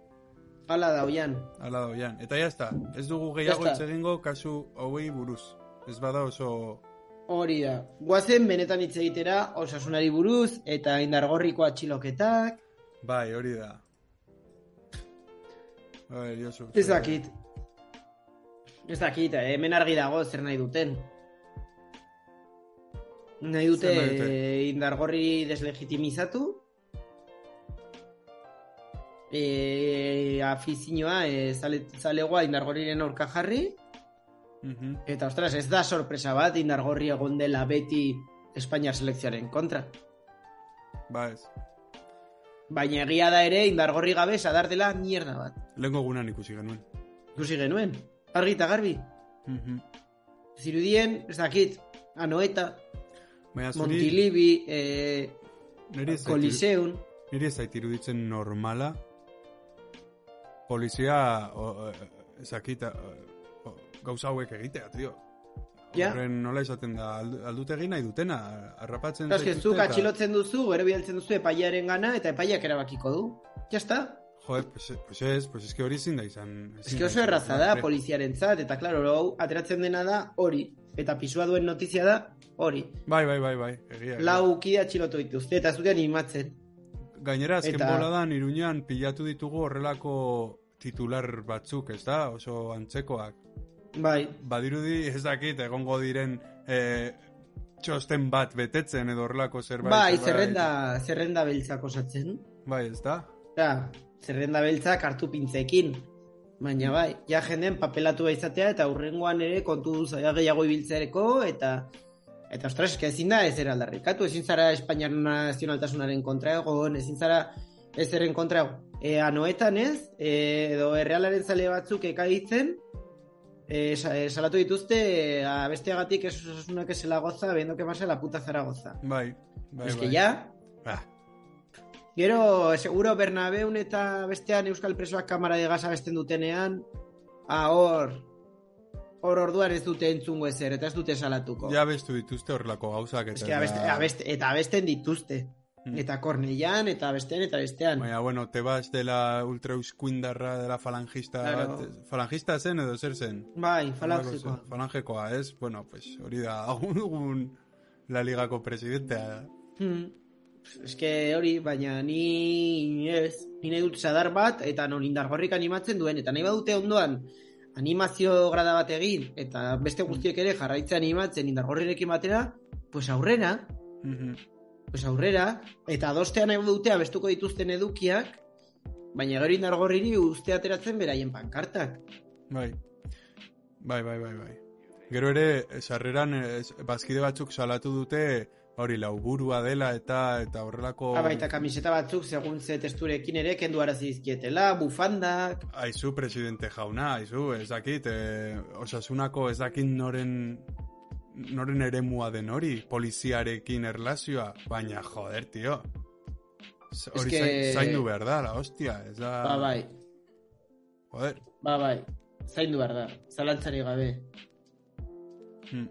S2: Hala da, oian.
S1: Hala da, oian. Eta ya está, ez dugu gehiago
S2: Ya
S1: hitz
S2: está.
S1: egingo kasu hauei buruz. Ez bada oso...
S2: Hori da. Guazen benetan hitz egitera osasunari buruz eta indargorriko atxiloketak.
S1: Bai, hori da. Bai, Josu.
S2: Ez dakit. Ez dakit, eh, hemen argi dago zer nahi duten. Nahi dute,
S1: Zer nahi dute?
S2: eh, indargorri deslegitimizatu. E, afizioa, e, zale, zalegoa indargorriren aurka jarri.
S1: Mhm.
S2: Eta ostras, ez da sorpresa bat indargorri egon dela beti Espainiar selekzioaren kontra.
S1: Ba ez.
S2: Baina egia da ere, indargorri gabe sadar dela mierda bat.
S1: Lehenko gunan ikusi genuen.
S2: Ikusi genuen, argi eta garbi.
S1: Mhm.
S2: Zirudien, ez dakit, Anoeta,
S1: Baina zuri,
S2: Montilibi, eh,
S1: niri ez zait iru-
S2: Coliseum.
S1: niri ez zait iruditzen normala polizia o, o, ezakita o, o, gauza hauek egitea, tio.
S2: Ja.
S1: Horren nola izaten da, aldu- aldutegi nahi dutena, arrapatzen
S2: Claro, ez
S1: zaituzte
S2: zuk
S1: eta-
S2: atxilotzen duzu, gero bidaltzen duzu epailearen gana, eta epaileak erabakiko du. Ja está.
S1: Joder, pues, pues ez, pues es que hori ezin da izan.
S2: Ez
S1: ezin
S2: que oso
S1: izan,
S2: erraza da
S1: hombre.
S2: poliziaren zat, eta klaro, hau ateratzen dena da hori. Eta pisua duen notizia da hori.
S1: Bai, bai, bai, bai, egia. egia.
S2: Lau kide atxilotu dituzte, eta ez dute animatzen.
S1: Gainera, azken
S2: Eta-
S1: boladan Iruñan pilatu ditugu horrelako titular batzuk, ez da? Oso antzekoak.
S2: Bai,
S1: Badirudi, ez dakit, egongo diren eh, txosten bat betetzen edo horrelako zerbait.
S2: bai,
S1: zerbait.
S2: zerrenda, zerrenda beltzak osatzen.
S1: Bai, ez da?
S2: Ja, zerrenda beltzak hartu pintzekin.
S1: Mm.
S2: Baina bai, ja jenden papelatu izatea eta hurrengoan ere kontu zaila gehiago ibiltzereko eta eta ostras, eske ezin da ezer aldarrikatu, ezin zara Espainiar nazionaltasunaren kontra egon, ezin zara ezerren kontra egon. E, anoetan ez, e, edo errealaren zale batzuk ekaditzen, e, sa- e, salatu dituzte e, abesteagatik ez osasunak esela goza, bendo que pasa la puta Zaragoza.
S1: Bai, bai,
S2: Eske
S1: bai.
S2: ja,
S1: Ah,
S2: Gero, seguro Bernabeun eta bestean Euskal Presoak kamara de gasa besten dutenean, ah, hor, hor orduan ez dute entzungo ezer, eta ez dute salatuko.
S1: ja bestu dituzte horrelako gauzak. Eta, ba-
S2: Eske abeste, abeste, eta abesten dituzte.
S1: Mm.
S2: Eta korneian, eta bestean, eta bestean.
S1: Baina, bueno, te vas de la ultra euskuindarra, de la falangista
S2: Claro.
S1: bat. Falangista zen edo zer zen?
S2: Bai, falangikoa.
S1: Falangekoa, ez? Bueno, pues hori da, agun dugun la ligako presidentea.
S2: Mm. eske hori, baina ni ez, ni nahi dut sadar bat, eta non indargorrik animatzen duen, eta nahi badute ondoan animazio grada bat egin, eta beste guztiek ere jarraitze animatzen indargorrirekin batera, pues aurrera,
S1: Mhm.
S2: pues aurrera, eta adostean nahi dute abestuko dituzten edukiak, baina gero indargorriri uste ateratzen beraien pankartak.
S1: Bai. Bai, bai, bai, bai. Gero ere, eh, sarreran eh, bazkide batzuk salatu dute hori lauburua dela eta eta horrelako
S2: Ah, baita kamiseta batzuk, segun ze testurekin ere, kendu arazi dizkietela, bufandak,
S1: Aizu, presidente jauna, aizu, ez dakit, eh, osasunako ez dakit noren, noren eremua den hori, poliziarekin erlazioa, baina joder, tio. Z-
S2: Es
S1: Hori
S2: que-
S1: zain- zaindu behar da, la hostia, ez da...
S2: ba bai,
S1: Joder.
S2: ba bai, zaindu behar da, zalantzari gabe.
S1: Hmm.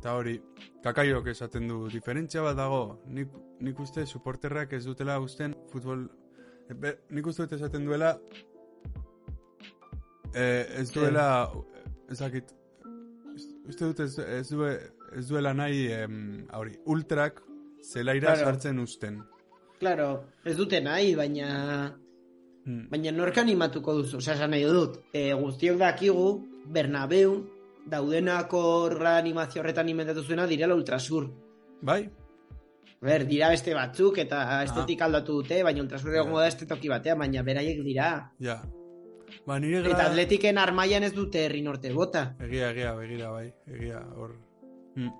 S1: Eta hori, kakaiok esaten du, diferentzia bat dago, nik, nik uste suporterrak ez dutela usten futbol... eh, Be, nik uste dut esaten duela... Eh, ez
S2: Zer?
S1: duela... Ez dakit... Uste dut ez, ez, due, ez duela nahi, em, hori, ultrak zelaira
S2: Claro.
S1: sartzen usten.
S2: Claro, ez dute nahi, baina
S1: Hmm.
S2: baina nork animatuko duzu, osea, esan nahi dut. E, guztiok dakigu, Bernabeu, daudenako horrela animazio horretan inventatu zuena direla Ultrasur.
S1: Bai?
S2: Ber, dira beste batzuk eta estetik aldatu dute, baina Ultrasur
S1: Ja.
S2: egongo da este toki batean, baina beraiek dira.
S1: Ja. Ba, nire
S2: Eta atletiken armaian ez dute herri norte bota.
S1: Egia, egia, begira, bai. Egia, hor... Hmm.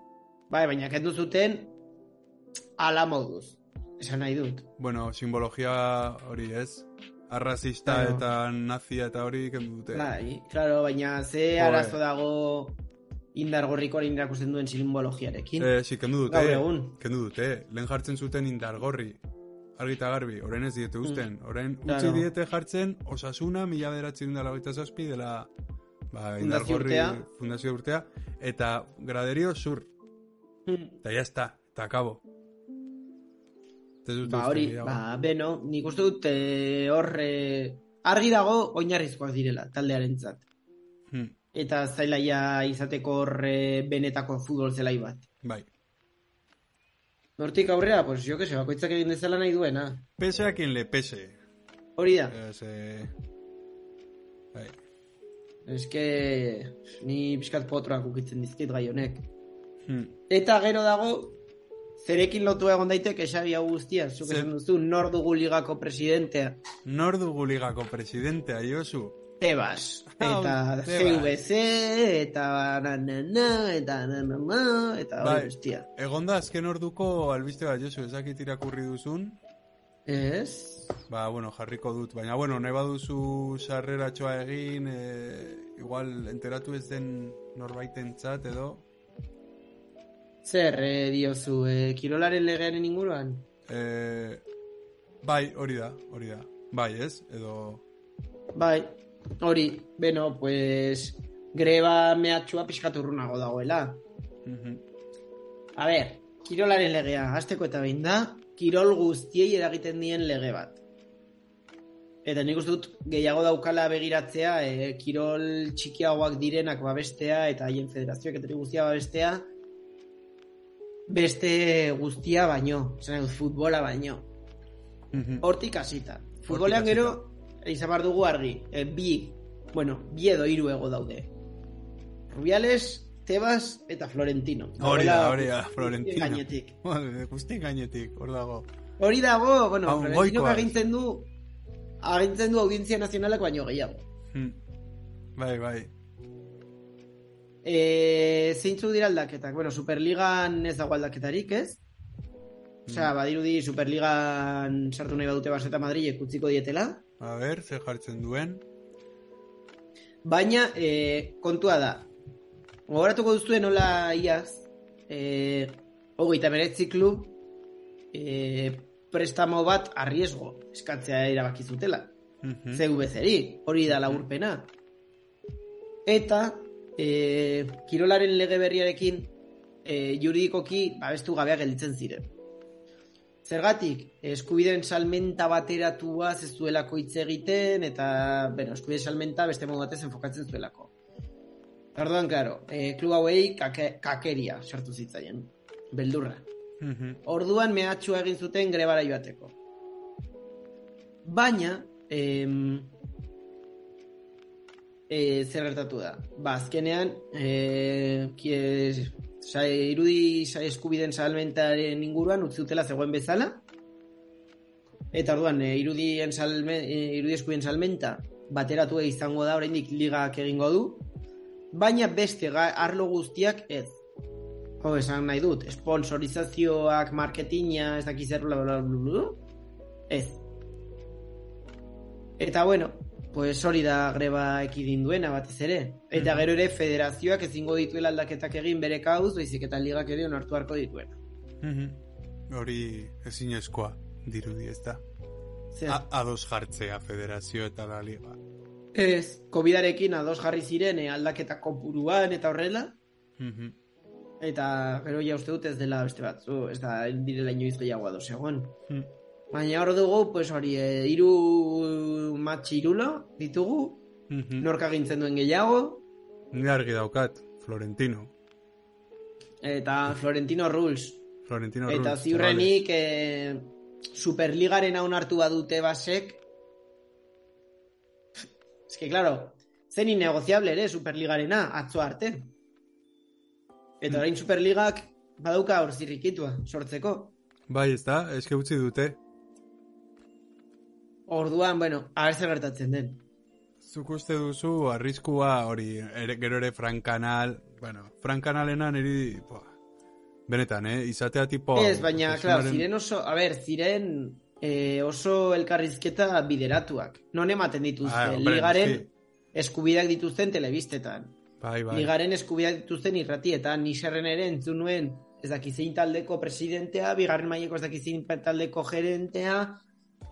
S2: Bai, baina kendu zuten ala moduz. Esan nahi dut.
S1: Bueno, simbologia hori ez. Arrazista
S2: Claro.
S1: eta nazia eta hori kendu dute.
S2: Bai, claro, baina ze
S1: Joder.
S2: arazo dago indargorrikoaren irakusten duen simbologiarekin.
S1: Eh, si, kendu dute.
S2: Gaur egun.
S1: Kendu dute. Lehen jartzen zuten indargorri. Argi eta garbi, orain ez diete uzten. Orain utzi
S2: Mm. Claro.
S1: diete jartzen osasuna mila beratzen dela hogeita zazpi dela ba,
S2: Fundazio
S1: indargorri
S2: urtea.
S1: fundazio urtea. Eta graderio sur.
S2: Hmm.
S1: Eta ya está. Eta acabo. Ez dute
S2: Ba
S1: uzten
S2: hori,
S1: gehiago.
S2: ba, beno, nik uste dut eh, hor eh, argi dago oinarrizkoak direla taldearentzat.
S1: Hmm,
S2: Eta zailaia izateko hor eh, benetako futbol zelai bat.
S1: bai.
S2: Nortik aurrera, pues jo que se bakoitzak egin dezala nahi duena.
S1: Pese a quien le pese.
S2: Hori da.
S1: Ez, eh, bai.
S2: Eske ni pixkat potroak ukitzen dizkit gai honek.
S1: Hmm.
S2: Eta gero dago zerekin lotua egon daiteke Xabi Agustia, zuk
S1: Zer-
S2: esan duzu, nor dugu ligako presidentea.
S1: Nor dugu ligako presidentea, Josu?
S2: Tebas,
S1: Ah,
S2: eta
S1: Tebas.
S2: CVC, eta na, na, na, eta na, na, na, eta
S1: Bai.
S2: hori guztia.
S1: Egon da azken orduko albiste bat, Josu, ezakit irakurri duzun?
S2: Ez?
S1: Ba, bueno, jarriko dut, baina, bueno, nahi baduzu sarreratxoa egin, eh, igual enteratu ez den norbaitentzat edo,
S2: Zer eh, diozu, eh, kirolaren legearen inguruan?
S1: eh, bai, hori da, hori da, bai, ez, edo,
S2: Bai, hori, beno, pues, greba mehatxua pixkaturrunago dagoela.
S1: Mhm.
S2: A ber, kirolaren legea, hasteko eta behin da, kirol guztiei eragiten dien lege bat. Eta nik uste dut gehiago daukala begiratzea, e, kirol txikiagoak direnak babestea eta haien federazioak eta hori guztia babestea, beste guztia baino, esan dut futbola baino.
S1: Mhm.
S2: Hortik hasita. Futbolean gero, izan behar dugu argi, e, bi, bueno, bi edo hiru ego daude. Rubiales, Tebas eta Florentino.
S1: hori da,
S2: Daudela
S1: hori da,
S2: guztien
S1: Florentino.
S2: Gainetik.
S1: Hori, Guztien gainetik, hor dago.
S2: Hori dago, bueno,
S1: Hau,
S2: Florentino
S1: goikoa.
S2: agintzen du agintzen du audientzia nazionalak baino gehiago.
S1: Hmm. Bai, bai,
S2: E, zeintzu dira aldaketak? Bueno, Superligan ez dago aldaketarik, ez?
S1: Mm.
S2: Osea, badirudi Superligan sartu nahi badute Barça eta Madrilek utziko dietela.
S1: a ber, ze jartzen duen,
S2: Baina, e, kontua da. Gogoratuko duzue nola iaz, e, hogeita meretzi klub e, prestamo bat arriesgo eskatzea erabaki zutela.
S1: Mhm.
S2: CVC-ri, hori da laburpena. Eta, e, kirolaren lege berriarekin e, juridikoki babestu gabea gelditzen ziren. Zergatik, eskubideen salmenta bateratuaz ez duelako hitz egiten, eta, bueno, eskubideen salmenta beste modu batez enfokatzen zuelako. eh, Orduan, claro, e, klub hauei kake, kakeria sartu zitzaien, beldurra.
S1: Mhm.
S2: Orduan mehatxua egin zuten grebara joateko. Baina, em, e, zer gertatu da. Ba, azkenean, e, kies, sai, irudi sai eskubiden salmentaren inguruan utzi dutela zegoen bezala. Eta orduan, e, irudien salme, e, irudi eskubiden salmenta bateratua izango da oraindik ligak egingo du. Baina beste ga- arlo guztiak ez. Jo, esan nahi dut, sponsorizazioak, marketinga, ez dakiz zer, bla, bla, bla, bla, bla. Ez. Eta bueno, pues hori da greba ekidin duena batez ere. Eta
S1: Mhm.
S2: gero ere federazioak ezingo dituela aldaketak egin bere kauz, baizik eta ligak ere onartu harko dituena.
S1: Mhm. Hori ezinezkoa dirudi ez da.
S2: Zer?
S1: A- Ados jartzea federazio eta la liga.
S2: Ez, COVIDarekin ados jarri ziren eh, aldaketa kopuruan eta horrela.
S1: Mhm.
S2: Eta gero ja uste dut ez dela beste batzu, ez da direla inoiz gehiago ados egon.
S1: Mhm.
S2: Baina hor dugu, pues hori, eh, hiru matxi irula ditugu,
S1: Mhm.
S2: norka gintzen duen gehiago,
S1: Ni argi daukat, Florentino.
S2: eta Florentino Rules.
S1: Florentino
S2: Eta
S1: rules,
S2: ziurrenik eh, Superligaren onartu badute basek. Ez que, claro, zen innegoziable ere Superligarena, atzo arte. Eta
S1: Hmm.
S2: orain Superligak badauka hor zirrikitua, sortzeko.
S1: chavales. Bai, ez da, eske utzi dute.
S2: Orduan, bueno, a ber zer gertatzen den.
S1: Zuk uste duzu arriskua hori, ere, gero ere Fran Canal, bueno, Fran Canalena niri, boa, benetan, eh, izatea tipo... hau,
S2: Ez, baina,
S1: pertsonaren-
S2: claro, ziren oso, a ber, ziren eh, oso elkarrizketa bideratuak. Non ematen dituzte,
S1: Ah, hombre,
S2: ligaren
S1: noski.
S2: eskubideak dituzten telebistetan.
S1: Bai, bai.
S2: Ligaren eskubideak dituzten irratietan, niserren ere entzun nuen, ez dakizein taldeko presidentea, bigarren maileko ez dakizein taldeko gerentea,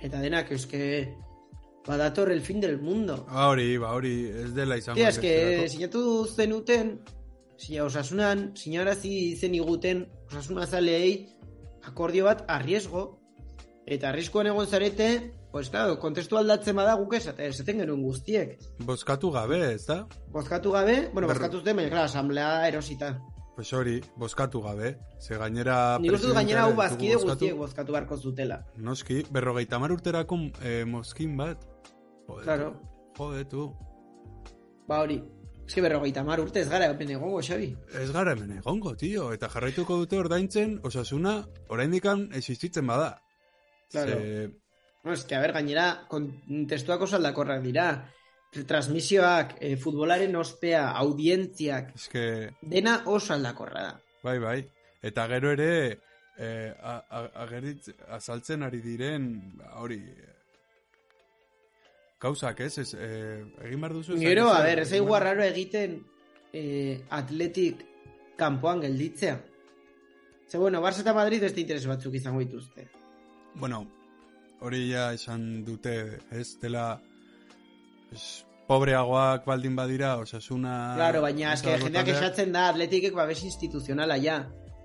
S2: eta denak, eske, badator el fin del mundo.
S1: Ba hori, ba hori, ez dela izango.
S2: Tia, eske,
S1: besterako.
S2: sinatu zenuten, sina osasunan, sinarazi zen iguten, osasuna zaleei, akordio bat arriesgo, eta arriskoan egon zarete, pues, claro, kontestu aldatzen bada guk esate- esaten genuen guztiek.
S1: Bozkatu gabe, ez da?
S2: Bozkatu gabe, bueno,
S1: Ber-
S2: bozkatu zuten, baina, claro, asamblea erosita.
S1: Pues hori, bozkatu gabe. Ze gainera...
S2: Nik uste dut gainera
S1: presidentearen
S2: hau bazkide
S1: ditugu bozkatu.
S2: guztiek bozkatu beharko zutela.
S1: Noski, berrogeita mar urterako eh, mozkin bat. Jode,
S2: Claro.
S1: tu. Jode, tu.
S2: Ba hori, eske berrogeita mar urte ez gara, hemen egongo, Xabi.
S1: Ez gara hemen egongo, tio. Eta jarraituko dute ordaintzen, osasuna, oraindikan existitzen bada.
S2: Claro.
S1: Ze,
S2: No, eske, a ber, gainera, kontestuak oso aldakorrak dira. Transmisioak, eh, futbolaren ospea, audientziak,
S1: eske,
S2: dena oso aldakorra da.
S1: bai, bai. Eta gero ere, eh, a- a- ageritz, azaltzen ari diren, ba, hori... eh, Gauzak, ez? ez eh, egin behar duzu... ez
S2: Gero,
S1: dakit
S2: a
S1: zer,
S2: ber, ez
S1: egin
S2: zaigu
S1: behar-
S2: arraro egiten eh, atletik kanpoan gelditzea. Ze, bueno, Barça eta Madrid beste interes batzuk izango dituzte.
S1: Bueno, hori ja esan dute, ez dela es, pobreagoak baldin badira, osasuna...
S2: Claro, baina eske
S1: osasun
S2: jendeak
S1: taldea.
S2: esatzen da atletikek babes instituzionala ja.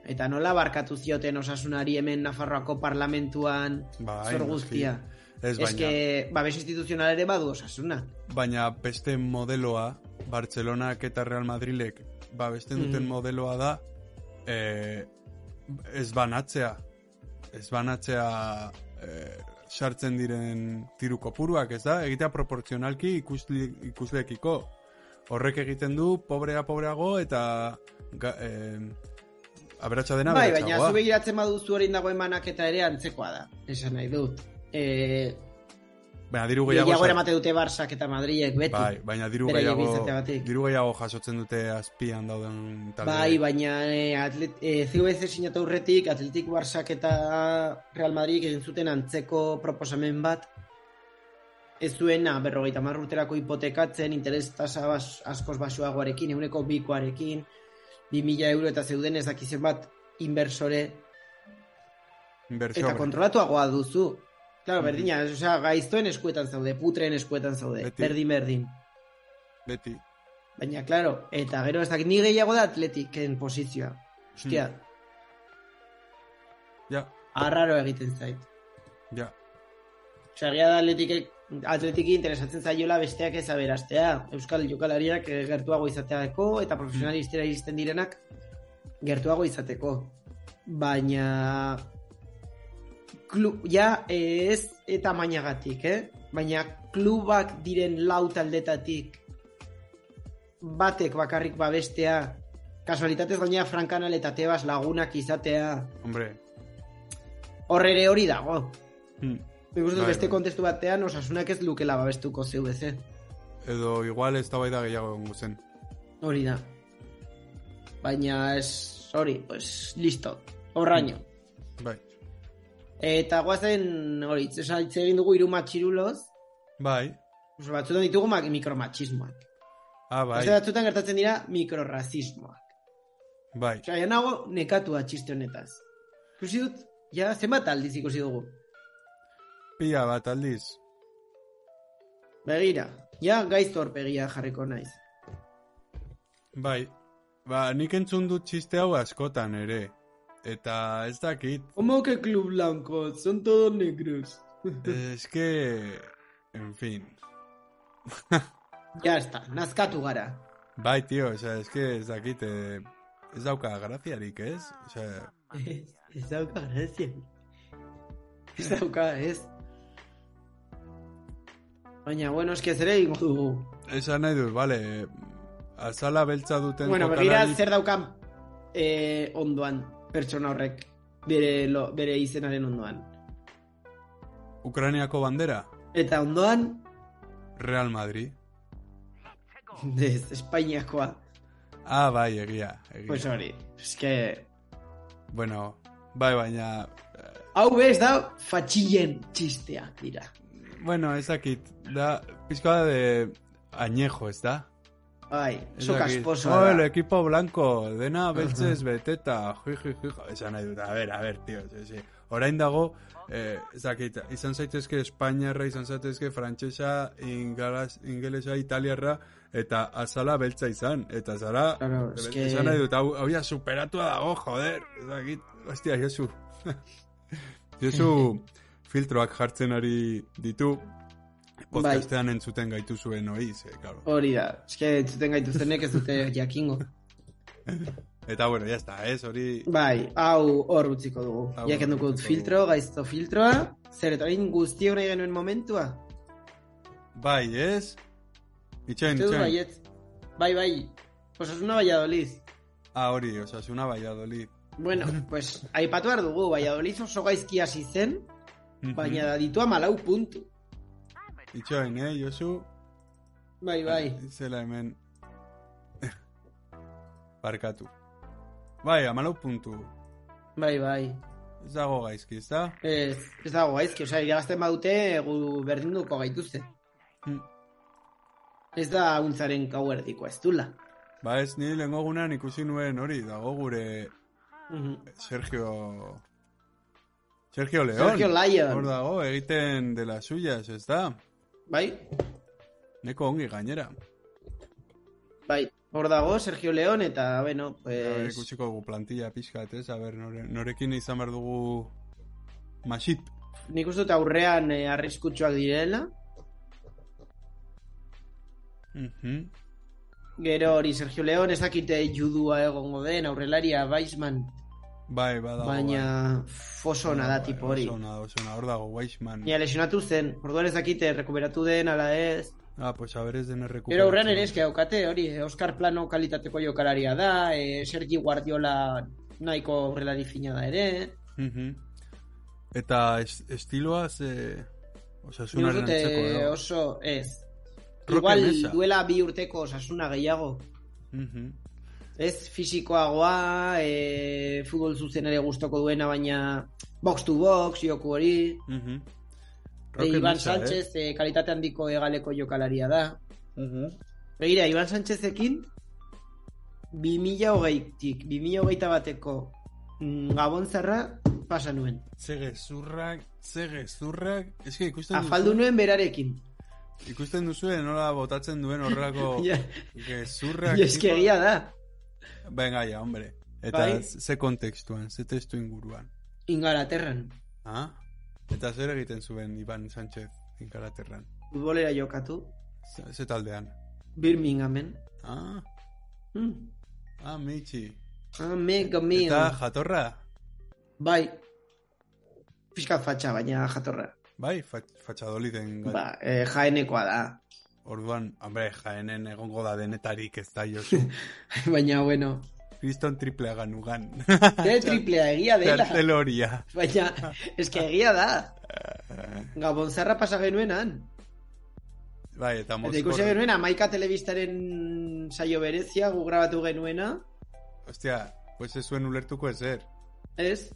S2: Eta nola barkatu zioten osasunari hemen Nafarroako parlamentuan
S1: Bai,
S2: zor
S1: noski.
S2: guztia.
S1: Ez baina,
S2: Eske babes instituzional ere badu osasuna.
S1: baina beste modeloa, Bartzelonak eta Real Madrilek, ba, beste duten
S2: Mhm.
S1: modeloa da, eh, ez banatzea, ez banatzea eh, sartzen diren tiru kopuruak, ez da? Egitea proportzionalki ikusli, ikuslekiko. Horrek egiten du pobrea pobreago eta ga, eh, aberatsa dena
S2: bai, baina
S1: aberatsagoa.
S2: zu begiratzen baduzu orain dagoen banaketa ere antzekoa da. Esan nahi dut. Eh,
S1: Baina diru gehiago,
S2: gehiago
S1: sar-
S2: eramate dute Barsak eta Madrilek beti.
S1: bai, baina diru
S2: Beraiek
S1: gehiago,
S2: izateagatik.
S1: diru gehiago jasotzen dute azpian dauden
S2: Bai,
S1: taldeek.
S2: baina e, atlet, e, CVC sinatu aurretik Atletik Barsak eta Real Madrid egin zuten antzeko proposamen bat ez zuena berrogeita hamar urterako hipotekatzen interes tasa bas, askoz basuagoarekin, euneko bikoarekin, 2000 euro eta zeuden ez dakizen bat inversore
S1: Inbertsio
S2: eta
S1: horrek.
S2: kontrolatuagoa duzu. Claro,
S1: Mhm.
S2: berdina, osea, gaiztoen eskuetan zaude, putren eskuetan zaude,
S1: Beti.
S2: berdin berdin.
S1: Beti.
S2: Baina, claro, eta gero ez dakit ni gehiago da atletiken posizioa. Hostia,
S1: Ja,
S2: arraro egiten zait.
S1: ja.
S2: Osea, egia da atletikek, atletiki interesatzen zaiola besteak ez aberastea. Euskal jokalariak eh, gertuago izateako eta profesionalistera iristen direnak gertuago izateko. baina klub, ja eh, ez eta mainagatik, eh? Baina klubak diren lau taldetatik batek bakarrik babestea, kasualitatez gainera frankanal eta tebas lagunak izatea,
S1: Hombre.
S2: hor ere hori dago.
S1: Hmm.
S2: Nik uste dut
S1: Bai,
S2: beste
S1: bai.
S2: kontestu batean osasunak ez lukela babestuko CVC.
S1: Edo igual ez da bai da gehiago egongo zen.
S2: Hori da. Baina ez, hori, pues, listo. Horraino.
S1: Bai.
S2: Eta guazen, hori, esa hitz egin dugu hiru matxiruloz,
S1: Bai.
S2: pues, batzutan ditugu mak, mikromatxismoak.
S1: Ah, bai.
S2: Beste batzutan gertatzen dira mikrorrazismoak.
S1: Bai.
S2: Osea, ja nago nekatua txiste honetaz. Ikusi dut, ja, zenbat aldiz ikusi dugu.
S1: Pila bat aldiz.
S2: Begira, ja gaizto horpegia jarriko naiz.
S1: Bai. Ba, nik entzun dut txiste hau askotan ere. Eta ez dakit,
S2: Como que Club Blanco, son todos negros.
S1: es que... En fin.
S2: Ja, está, nazkatu gara.
S1: Bai, tío, o sea, es que ez dakit... Eh, ez dauka graziarik, ez? O sea,
S2: Ez, ez dauka grazia. Ez dauka, ez. Baina, bueno, eski ez ere ingo dugu.
S1: esan nahi dut, vale... Azala beltza duten
S2: Bueno, begira
S1: jokalari-
S2: zer daukan eh, ondoan pertsona horrek bere, lo, bere izenaren ondoan.
S1: Ukrainiako bandera.
S2: Eta ondoan,
S1: Real Madrid.
S2: ez, Espainiakoa.
S1: Ah, bai, egia. egia.
S2: Pues hori, eske...
S1: Bueno, bai, baina...
S2: Hau bez da, fatxillen txisteak dira.
S1: Bueno, ez dakit, da, pizkoa de añejo, ez da?
S2: Bai,
S1: Ez
S2: soka
S1: dakit.
S2: esposoa
S1: Oh, el
S2: da.
S1: equipo blanco, dena beltzez beteta, ju, ju, ju, ju. Esan nahi dut, a ver, a ver, tío, sí, sí. Orain dago, eh, ez dakit, izan zaitezke Espainiarra, izan zaitezke Frantsesa, ingalas- ingelesa, italiarra, eta azala beltza izan, eta zara,
S2: Claro, es que-
S1: esan nahi dut, hau, hau ja superatua dago, joder, ez dakit, hostia, Josu. Josu filtroak jartzen ari ditu,
S2: Bai.
S1: podcastean entzuten gaitu zuen oiz, eh, claro.
S2: Hori da, eske entzuten gaituztenek ez dute jakingo.
S1: Eta bueno, ya está, ez, hori...
S2: Bai, hau hor utziko dugu.
S1: Hau
S2: Ja kenduko dut
S1: utziko
S2: filtro, gaizto filtroa. Zer, eta orain guztia nahi genuen momentua.
S1: Bai, ez? Itxain,
S2: Uste dut
S1: itxain.
S2: baietz. Bai, bai. Osasuna Valladolid.
S1: Ah, hori, osasuna Valladolid.
S2: Bueno, pues aipatu behar dugu, Valladolid oso gaizki hasi zen, baina ditu amalau puntu.
S1: Mhm. Itxain, eh, Josu?
S2: Bai, bai.
S1: Zela hemen... Barkatu. Bai, amalau puntu.
S2: Bai, bai.
S1: Ez dago gaizki, ez da?
S2: Ez, ez dago gaizki, osea, iragazten badute gu berdinduko gaituzte. Mm.
S1: Hm.
S2: Ez da untzaren gauerdikoa, ez dula.
S1: Ba ez, ni lehenko gunean ikusi nuen hori, dago gure
S2: Mhm.
S1: Sergio... Sergio León.
S2: Sergio Lion.
S1: Hor dago, egiten de las suyas, ez da?
S2: Bai,
S1: Neko ongi gainera.
S2: bai. Hor dago, Sergio León, eta, bueno,
S1: A ber,
S2: pues...
S1: ikusiko dugu plantilla pixkat, ez? A ber, nore, norekin izan behar dugu masip.
S2: Nik uste dut aurrean eh, arriskutsuak direla.
S1: Mhm.
S2: Gero hori Sergio León ez dakite judua egongo den, aurrelaria Weisman,
S1: Bai, badago.
S2: baina fosona
S1: Bai,
S2: da tipo hori.
S1: Osona, osona, hor dago, Weisman.
S2: Nia lesionatu zen, orduan ez dakite rekuperatu den, ala ez.
S1: Ah, pues a ber ez den errekuperatzen.
S2: Gero aurrean ere eske daukate, hori, eh, Oscar Plano kalitateko jokalaria da, eh, Sergi Guardiola nahiko aurrelari fina da ere.
S1: Mhm. Eta es, estiloa ze...
S2: Nik uste
S1: Osasunaren
S2: dut, eh,
S1: antzeko,
S2: oso ez.
S1: Roque Mesa.
S2: Igual duela bi urteko osasuna gehiago.
S1: da? Mhm.
S2: Ez fisikoagoa, e, futbol zuzen ere gustoko duena, baina box to box, joku hori.
S1: Mhm.
S2: E,
S1: Roque
S2: Iban
S1: Mesa, eh?
S2: Sánchez eh? kalitate handiko hegaleko jokalaria da. Begira, Iban Sánchezekin 2008-tik, 2008 bateko mm, Gabon zarra pasa nuen.
S1: Ze gezurrak, ze gezurrak... Ez que ikusten
S2: Afaldu nuen berarekin.
S1: duzu- ikusten duzue nola botatzen duen horrelako
S2: Ja,
S1: gezurrak.
S2: ja, eske
S1: tipo-
S2: egia da.
S1: Venga, ya, hombre. Eta
S2: Bai.
S1: ze kontekstuan, ze testu inguruan.
S2: Ingalaterran.
S1: Ah? Eta zer egiten zuen Iban Sánchez Inkaraterran.
S2: Futbolera jokatu.
S1: Ze- Ze taldean.
S2: Birminghamen.
S1: Ah?
S2: Mm.
S1: Ah, Michi.
S2: Amigo mío.
S1: Eta jatorra.
S2: Bai. Piskat fatxa, baina jatorra.
S1: Bai, fatxadoliten gai.
S2: Ba, eh, jaenekoa da.
S1: Orduan, hombre, jaenen egongo da denetarik ez da jozu.
S2: baina, bueno.
S1: Kriston triplea ganugan.
S2: De triplea egia dela.
S1: Txartel horia.
S2: Baina, eske egia da. Gabon zarra pasa genuenan.
S1: Bai, eta
S2: Eta ikusi
S1: mozkor.
S2: genuen, amaika telebistaren saio berezia, gu grabatu genuena,
S1: Ostia, pues ez zuen ulertuko ezer.
S2: ez?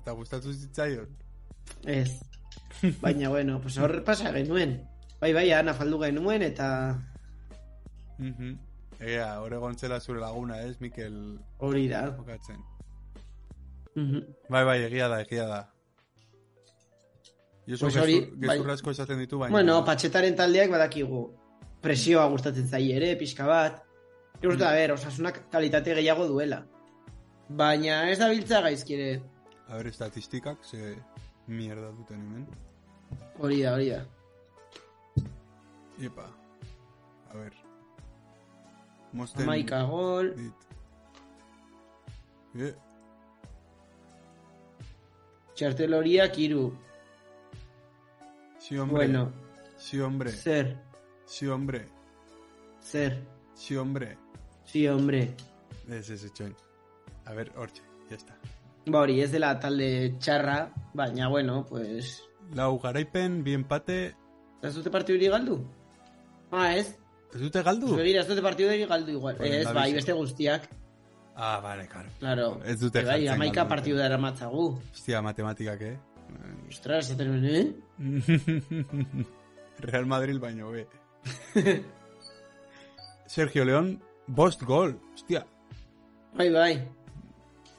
S1: Eta gustatu zitzaion.
S2: Ez. Baina, bueno, pues hor pasa genuen. Bai, bai, ana faldu genuen, eta
S1: Mhm. Ea, hor egon zela zure laguna, ez, Mikel
S2: hori da.
S1: jokatzen.
S2: Mhm.
S1: Bai, bai, egia da, egia da. Josu
S2: Pues
S1: gezur-
S2: hori, bai.
S1: gezurra asko esaten ditu, baina...
S2: Bueno, patxetaren taldeak badakigu. Presioa gustatzen zaie ere, pixka bat. Nik uste, a ber, osasunak kalitate gehiago duela. Baina ez da biltza gaizkire.
S1: A ber, estatistikak, ze mierda duten hemen.
S2: Hori da, hori da.
S1: Iepa. A ber. Mozten
S2: Amaika gol.
S1: dit. E,
S2: Txartel horiak iru.
S1: si hombre,
S2: Bueno,
S1: si hombre,
S2: zer,
S1: si hombre,
S2: zer.
S1: si hombre.
S2: Sí, hombre.
S1: Ez, ez, etxoin. A ber, hortxe, ya está.
S2: Ba hori, ez dela talde txarra, baina bueno, pues...
S1: Lau garaipen, bi empate,
S2: Ez dute partidu hori galdu? Ah, ez?
S1: ez dute galdu?
S2: Pues begira, ez dute partidu hori galdu igual.
S1: Joder,
S2: ez,
S1: la
S2: bai,
S1: Uh. bizi.
S2: beste guztiak,
S1: Ah, bale, karo.
S2: claro.
S1: Ez dute
S2: Ze bai,
S1: jartzen
S2: amaika
S1: galdu. eh.
S2: partidu dara matzagu.
S1: Hostia, matematikak, eh?
S2: Ostras, ez nuen, eh?
S1: Real Madrid baino, be. Sergio León, bost gol. Hostia.
S2: Bai, bai.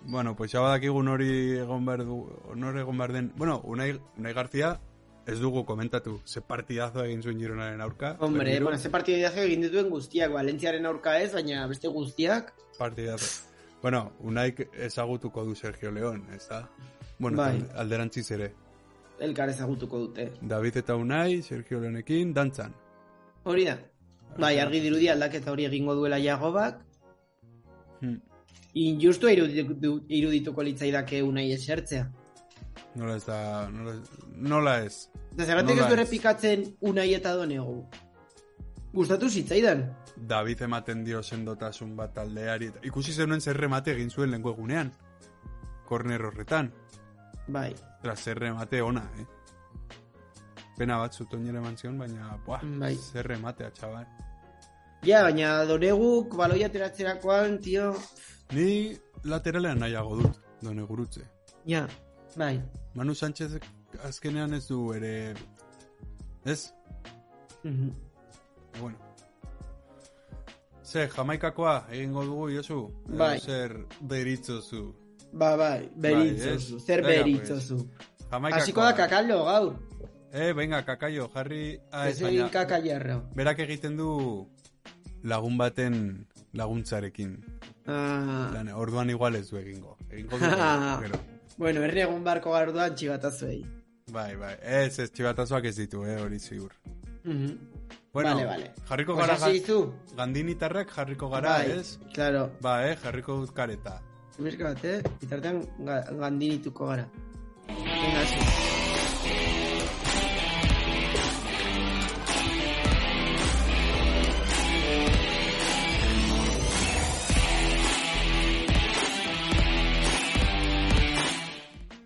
S1: Bueno, pues ya badakigu nori egon behar du, nor egon behar den... Bueno, Unai, Unai García ez dugu komentatu. Ze partidazo egin zuen Gironaren aurka.
S2: Hombre,
S1: Berriro,
S2: bueno, ze partidu dira egin dituen guztiak, Valentziaren aurka ez, baina beste guztiak.
S1: Partidazo. Bueno, Unaik ezagutuko du Sergio León, ez da? Bueno,
S2: Bai.
S1: eta alderantziz ere.
S2: Elkar ezagutuko dute.
S1: David eta Unai, Sergio Leonekin, dantzan.
S2: Hori da. Bai, argi dirudi aldaketa hori egingo duela Jagobak. Hmm.
S1: Hm,
S2: Injustu iruditu- irudituko litzaidake unai esertzea.
S1: nola ez da... Nola, ez- nola ez.
S2: Eta zergatik
S1: Nola
S2: ez du
S1: ez?
S2: errepikatzen unai eta donego. Gustatu zitzaidan.
S1: David ematen dio sendotasun bat taldeari. eta Ikusi zenuen zer remate egin zuen lengo egunean. Korner horretan.
S2: Bai.
S1: Tras zer remate ona, eh? Pena bat zutoinera eman zion, baina, buah,
S2: Bai.
S1: zer rematea, txabal.
S2: Ja, baina doneguk baloia ateratzerakoan, tio...
S1: Ni lateralean nahiago dut, done gurutze.
S2: Ja, bai.
S1: Manu Sánchez azkenean ez du ere... Ez?
S2: Mhm.
S1: Bueno. Ze, jamaikakoa egingo dugu, Josu? Edo
S2: Bai.
S1: Zer deritzozu.
S2: Ba, bai, beritzozu.
S1: ez?
S2: Zer
S1: Venga,
S2: beritzozu.
S1: Jamaikakoa.
S2: Hasiko da kakalo gaur.
S1: Eh, venga, kakaio, jarri... Ah,
S2: Ez
S1: ez,
S2: egin
S1: baina...
S2: kakajarro.
S1: Berak egiten du lagun baten laguntzarekin.
S2: Ah,
S1: Lan, orduan igual ez du egingo. Egingo du, baina, gero.
S2: bueno, herri egun barko gaur duan txibatazuei.
S1: Bai, bai. Ez, ez, txibatazoak ez ditu, eh, hori ziur.
S2: Mhm.
S1: Bueno,
S2: Vale, vale.
S1: jarriko
S2: Pues
S1: gara...
S2: hasi izu.
S1: Gandinitarrak jarriko gara,
S2: bai,
S1: ez?
S2: Claro.
S1: Ba, eh, jarriko dut kareta.
S2: Bizka bat, eh? Bitartean ga- gandinituko gara. Venga, hasi.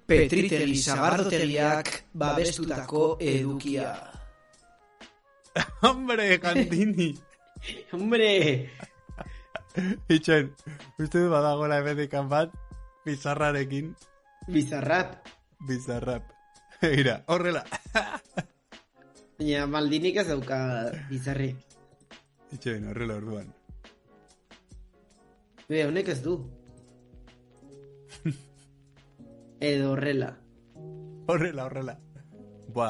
S3: Petritegi sagardotegiak babestutako edukia.
S1: Hombre, Gandini!
S2: Hombre!
S1: Itxen, uste du badagoela ebedekan bat, bizarrarekin,
S2: Bizarrap.
S1: bizarrap. Egira, horrela.
S2: Baina maldinik ez dauka bizarrik.
S1: Itxen, horrela orduan.
S2: Be, honek ez du. Edo horrela.
S1: Horrela, horrela. Ba,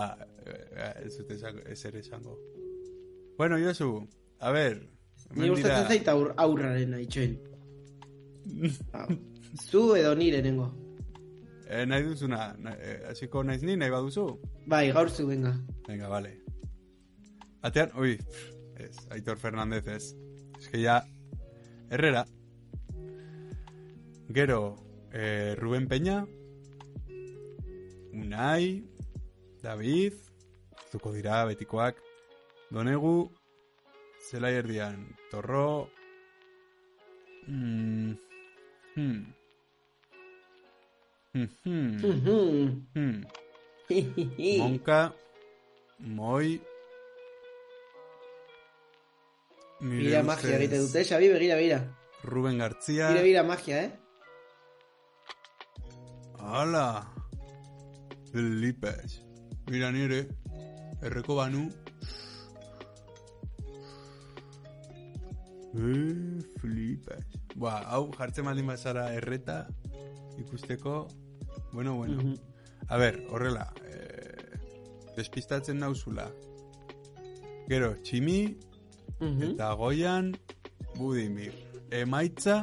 S1: ez dut esango, ez ere esango. Bueno, Josu, a ber.
S2: Ni
S1: hemen
S2: gustatzen
S1: dira-
S2: zait aur, aurraren itxoin. Hau. Zu edo nire nengo.
S1: Eh, nahi duzuna, na- eh, hasiko naiz ni, nahi baduzu?
S2: Bai, gaur zu, venga.
S1: Venga, vale. Atean, ui, pff, ez, Aitor Fernández ez. Ez que ya, herrera. Gero, eh, Rubén Peña, Unai, David, zuko dira betikoak, Donegu, zelai erdian, Torro, mm, hmm. Hmm, hmm,
S2: Ujú.
S1: hmm. Monka, Moi, nire
S2: Bira magia
S1: ustez
S2: egite dute, Xabi, begira, begira.
S1: Ruben Gartzia,
S2: Bira, bira magia, eh?
S1: Hala! Flipes. Mira nire, erreko banu. Eh, flipes. Ba, hau jartzen baldin bazara erreta ikusteko. Bueno, bueno.
S2: Ujú.
S1: A ber, horrela. Eh, despistatzen nauzula. Gero, tximi,
S2: Ujú.
S1: Eta goian, Budimir. Emaitza,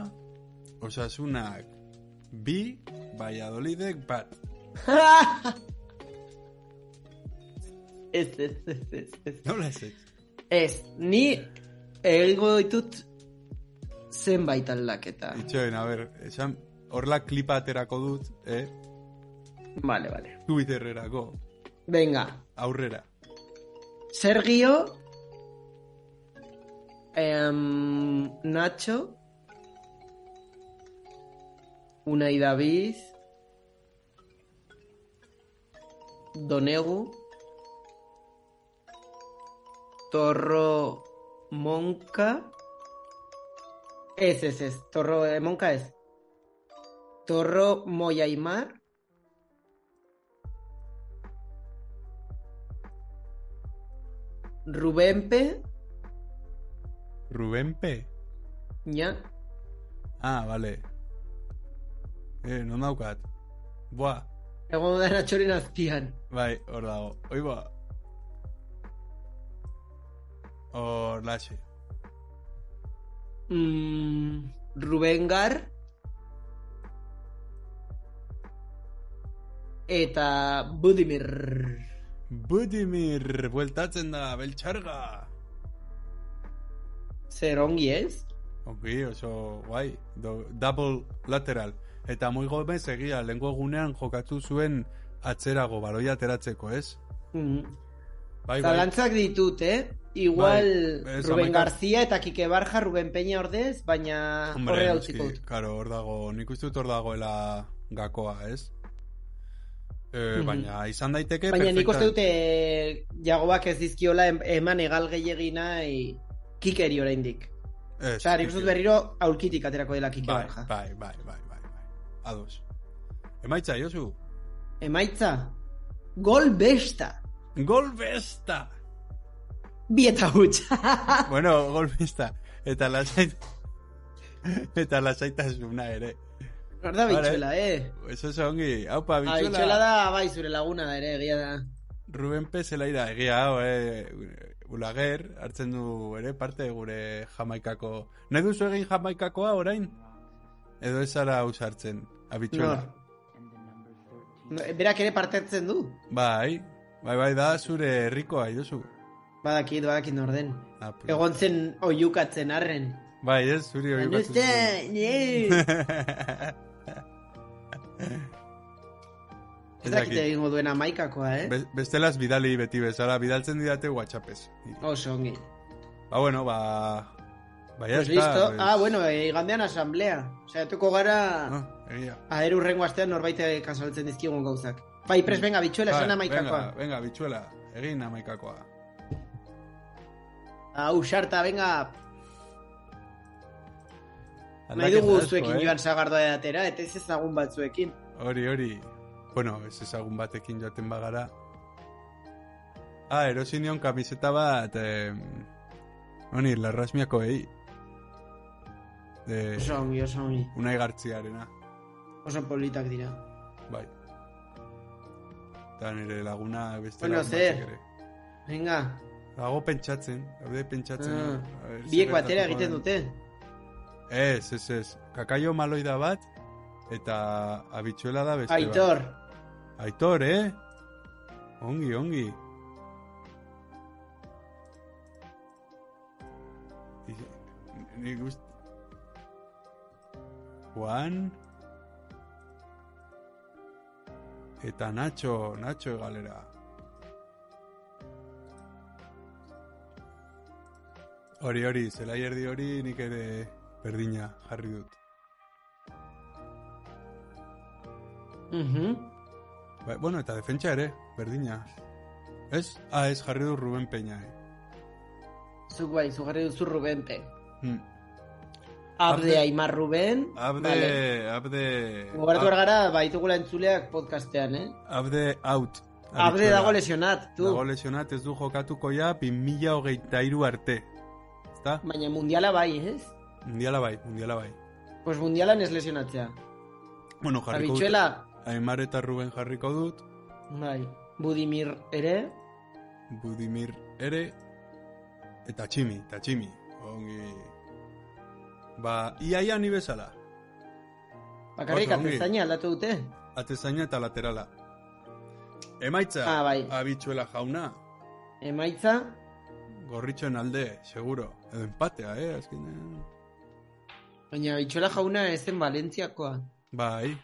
S1: osasunak bi, Valladolidek bat.
S2: Ez, ez, ez, ez, ez.
S1: Nola ez ez?
S2: Ez, ni egingo ditut zenbait aldaketa.
S1: Itxoen, a ber, esan, horla klipa aterako dut, eh?
S2: Vale, vale.
S1: Twittererako,
S2: Venga,
S1: aurrera.
S2: Sergio, em, Nacho, Unai David, Donegu, Torro Monca. Es, es, es. Torro eh, Monca es. Torro Moyaimar. Rubén P.
S1: Rubén P.
S2: Ya.
S1: Ah, vale. Eh, non daukat. Boa,
S2: Egon da Nachoren azpian.
S1: bai, hor dago. Oi ba. Hor laxe.
S2: Mm, Rubén Gar. Eta Budimir.
S1: Budimir, bueltatzen da, beltxarga.
S2: Zer ongi ez?
S1: Ongi, oso guai, Do, double lateral. Eta moi gomez egia, lengo egunean jokatu zuen atzerago, baloia ateratzeko, ez?
S2: Mm.
S1: Bai, bai,
S2: Zalantzak ditut, eh? Igual
S1: Bai, ez,
S2: Rubén
S1: hamaika-
S2: García eta Kike Barja, Rubén Peña ordez, baina
S1: hombre,
S2: horre
S1: noski,
S2: utziko dut.
S1: karo, hor dago, nik uste dut hor dagoela gakoa, ez? E,
S2: Mhm.
S1: Baina izan daiteke
S2: Baina nik uste
S1: perfecta-
S2: dute eh, jagoak ez dizkiola em- eman egal gehiagina e, kikeri oraindik.
S1: Ez,
S2: Osea, nik uste dut berriro aurkitik aterako dela Kike
S1: bai,
S2: Barja.
S1: bai, bai, bai, bai, bai. Ados. Emaitza, Josu?
S2: Emaitza, gol besta.
S1: Gol besta!
S2: Bi eta hutsa.
S1: bueno, golpista. Eta lasait... Eta lasaitasuna ere.
S2: Hor da
S1: Vale.
S2: bitxuela, eh?
S1: Eso es ongi. Haupa,
S2: Ah,
S1: bitxula.
S2: bitxuela da, bai, zure laguna da ere, egia da.
S1: Ruben P. zelaira egia hau, eh, ulager, hartzen du ere parte gure jamaikako. Nahi duzu egin jamaikakoa orain? Edo ez zara usartzen, abitxuela.
S2: No, eh, berak ere parte hartzen du.
S1: Bai, bai, bai, da zure herrikoa, jozu.
S2: Badakit, badakit norden.
S1: Ah, pues.
S2: Egon zen oiukatzen arren.
S1: Bai, ez, zuri hori batu
S2: Anuste,
S1: zuen.
S2: nie!
S1: Ez
S2: Ez dakit
S1: dakit.
S2: egingo duen amaikakoa, eh?
S1: Be- Bestelaz bidali beti bezala, bidaltzen didate whatsappez.
S2: Oso ongi.
S1: Ba, bueno, ba... Ba, ya
S2: Pues
S1: está,
S2: listo.
S1: pues.
S2: Ah, bueno, eh, igandean asamblea. Osea, etuko gara...
S1: Ah, egia.
S2: Aher urrengo astean norbait kasaltzen dizkigun gauzak. Bai, pres, venga, bitxuela, esan
S1: Bai,
S2: amaikakoa.
S1: Venga, venga, bitxuela, egin amaikakoa.
S2: Hau, xarta, venga, Nahi
S1: Aldaketa
S2: dugu
S1: asko,
S2: zuekin
S1: eh?
S2: joan sagardoa atera, eta ez ezagun batzuekin.
S1: Hori, hori. Bueno, ez ezagun batekin joaten bagara. Ah, erosi nion kamiseta bat... Eh, honi, larrasmiako egi. De,
S2: Oso ongi, oso ongi.
S1: unai gartziarena,
S2: Oso politak dira.
S1: bai. Eta nire laguna beste
S2: Bueno,
S1: lagun
S2: zer?
S1: batzuk ere.
S2: Venga,
S1: Dago pentsatzen, daude pentsatzen.
S2: Ah,
S1: a ber, zer
S2: biek batera
S1: gertatuko
S2: egiten
S1: den.
S2: dute.
S1: Ez, ez, ez. Kakaio maloida bat eta abitxuela da beste
S2: Aitor,
S1: bat. Aitor, eh? Ongi, ongi. I- Nik gust... Juan... Eta Nacho, Nacho galera. Hori hori, zelai erdi hori nik ere berdina jarri dut.
S2: Mhm.
S1: Bai, bueno, eta defentsa ere, berdina. Ez? Ah, ez, jarri dut Ruben Peña. Eh.
S2: Zuk bai, zuk jarri duzu Rubente.
S1: Hmm. Abde-
S2: Abde Aimar Ruben.
S1: Abde,
S2: Vale.
S1: abde...
S2: Gogoratu
S1: ab-
S2: behar gara, baitugula entzuleak podcastean, eh?
S1: Abde out.
S2: Abde
S1: Abitxuela.
S2: dago lesionat, tu.
S1: Dago lesionat ez du jokatuko ja 2023 arte. Ezta?
S2: Baina mundiala bai, ez?
S1: Mundiala bai, mundiala bai.
S2: Pues mundialan ez lesionatzea.
S1: Bueno, jarriko
S2: Abitxuela,
S1: dut. Aimar eta Ruben jarriko dut.
S2: bai. Budimir ere.
S1: Budimir ere. Eta Tximi, eta Tximi. Ongi. Ba, iaia ni bezala.
S2: Bakarrik
S1: Oso ongi.
S2: atezaina aldatu dute.
S1: Atezaina eta laterala. Emaitza,
S2: Ah, bai.
S1: abitxuela jauna.
S2: Emaitza,
S1: Gorritxoen alde, seguro. Edo empatea, eh, azkenean.
S2: baina Abitxuela jauna ez zen Valentziakoa.
S1: Bai.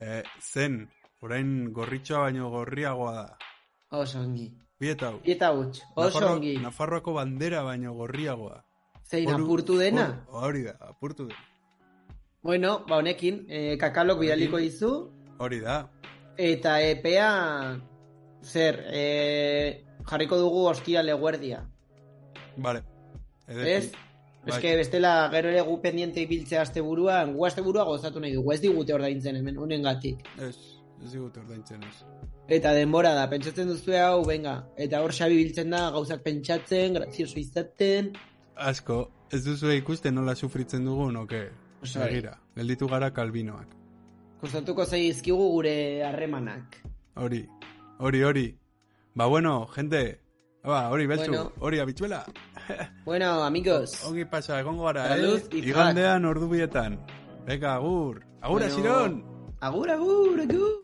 S1: E, zen, orain gorritxoa baino gorriagoa da.
S2: Oso ongi.
S1: Bietau.
S2: Eta huts, oso
S1: Nafarro-
S2: ongi.
S1: Nafarroako bandera baino gorriagoa.
S2: Zein
S1: Oru-
S2: apurtu dena.
S1: oru- Hori da, apurtu dena.
S2: Bueno, ba honekin, eh, kakalok bidaliko dizu.
S1: Hori da.
S2: Eta epea, zer, eh, jarriko dugu ostia leguerdia.
S1: Vale. Ederki.
S2: Ez?
S1: Bai.
S2: Eske bestela gero ere gu pendiente ibiltzea asteburuan, gu asteburua gozatu nahi dugu, ez digute ordaintzen hemen, honengatik.
S1: Ez, ez digute ordaintzen ez.
S2: Eta denbora da, pentsatzen duzu hau, venga, eta hor xabi biltzen da, gauzak pentsatzen, grazioso izaten,
S1: Asko, ez duzu ikusten nola sufritzen dugun, oke?
S2: Osai.
S1: Begira, gelditu gara kalbinoak.
S2: kostatuko zaizkigu gure harremanak.
S1: Hori, hori, hori. Ba bueno, gente, ba, hori beltzu,
S2: Bueno.
S1: hori abitzuela.
S2: Bueno, amigos,
S1: Ongi pasa, egongo gara, eh?
S2: Salud y
S1: Igandean ordu bietan. Beka, agur. Agur,
S2: Bueno.
S1: Asiron!
S2: agur, agur, agur!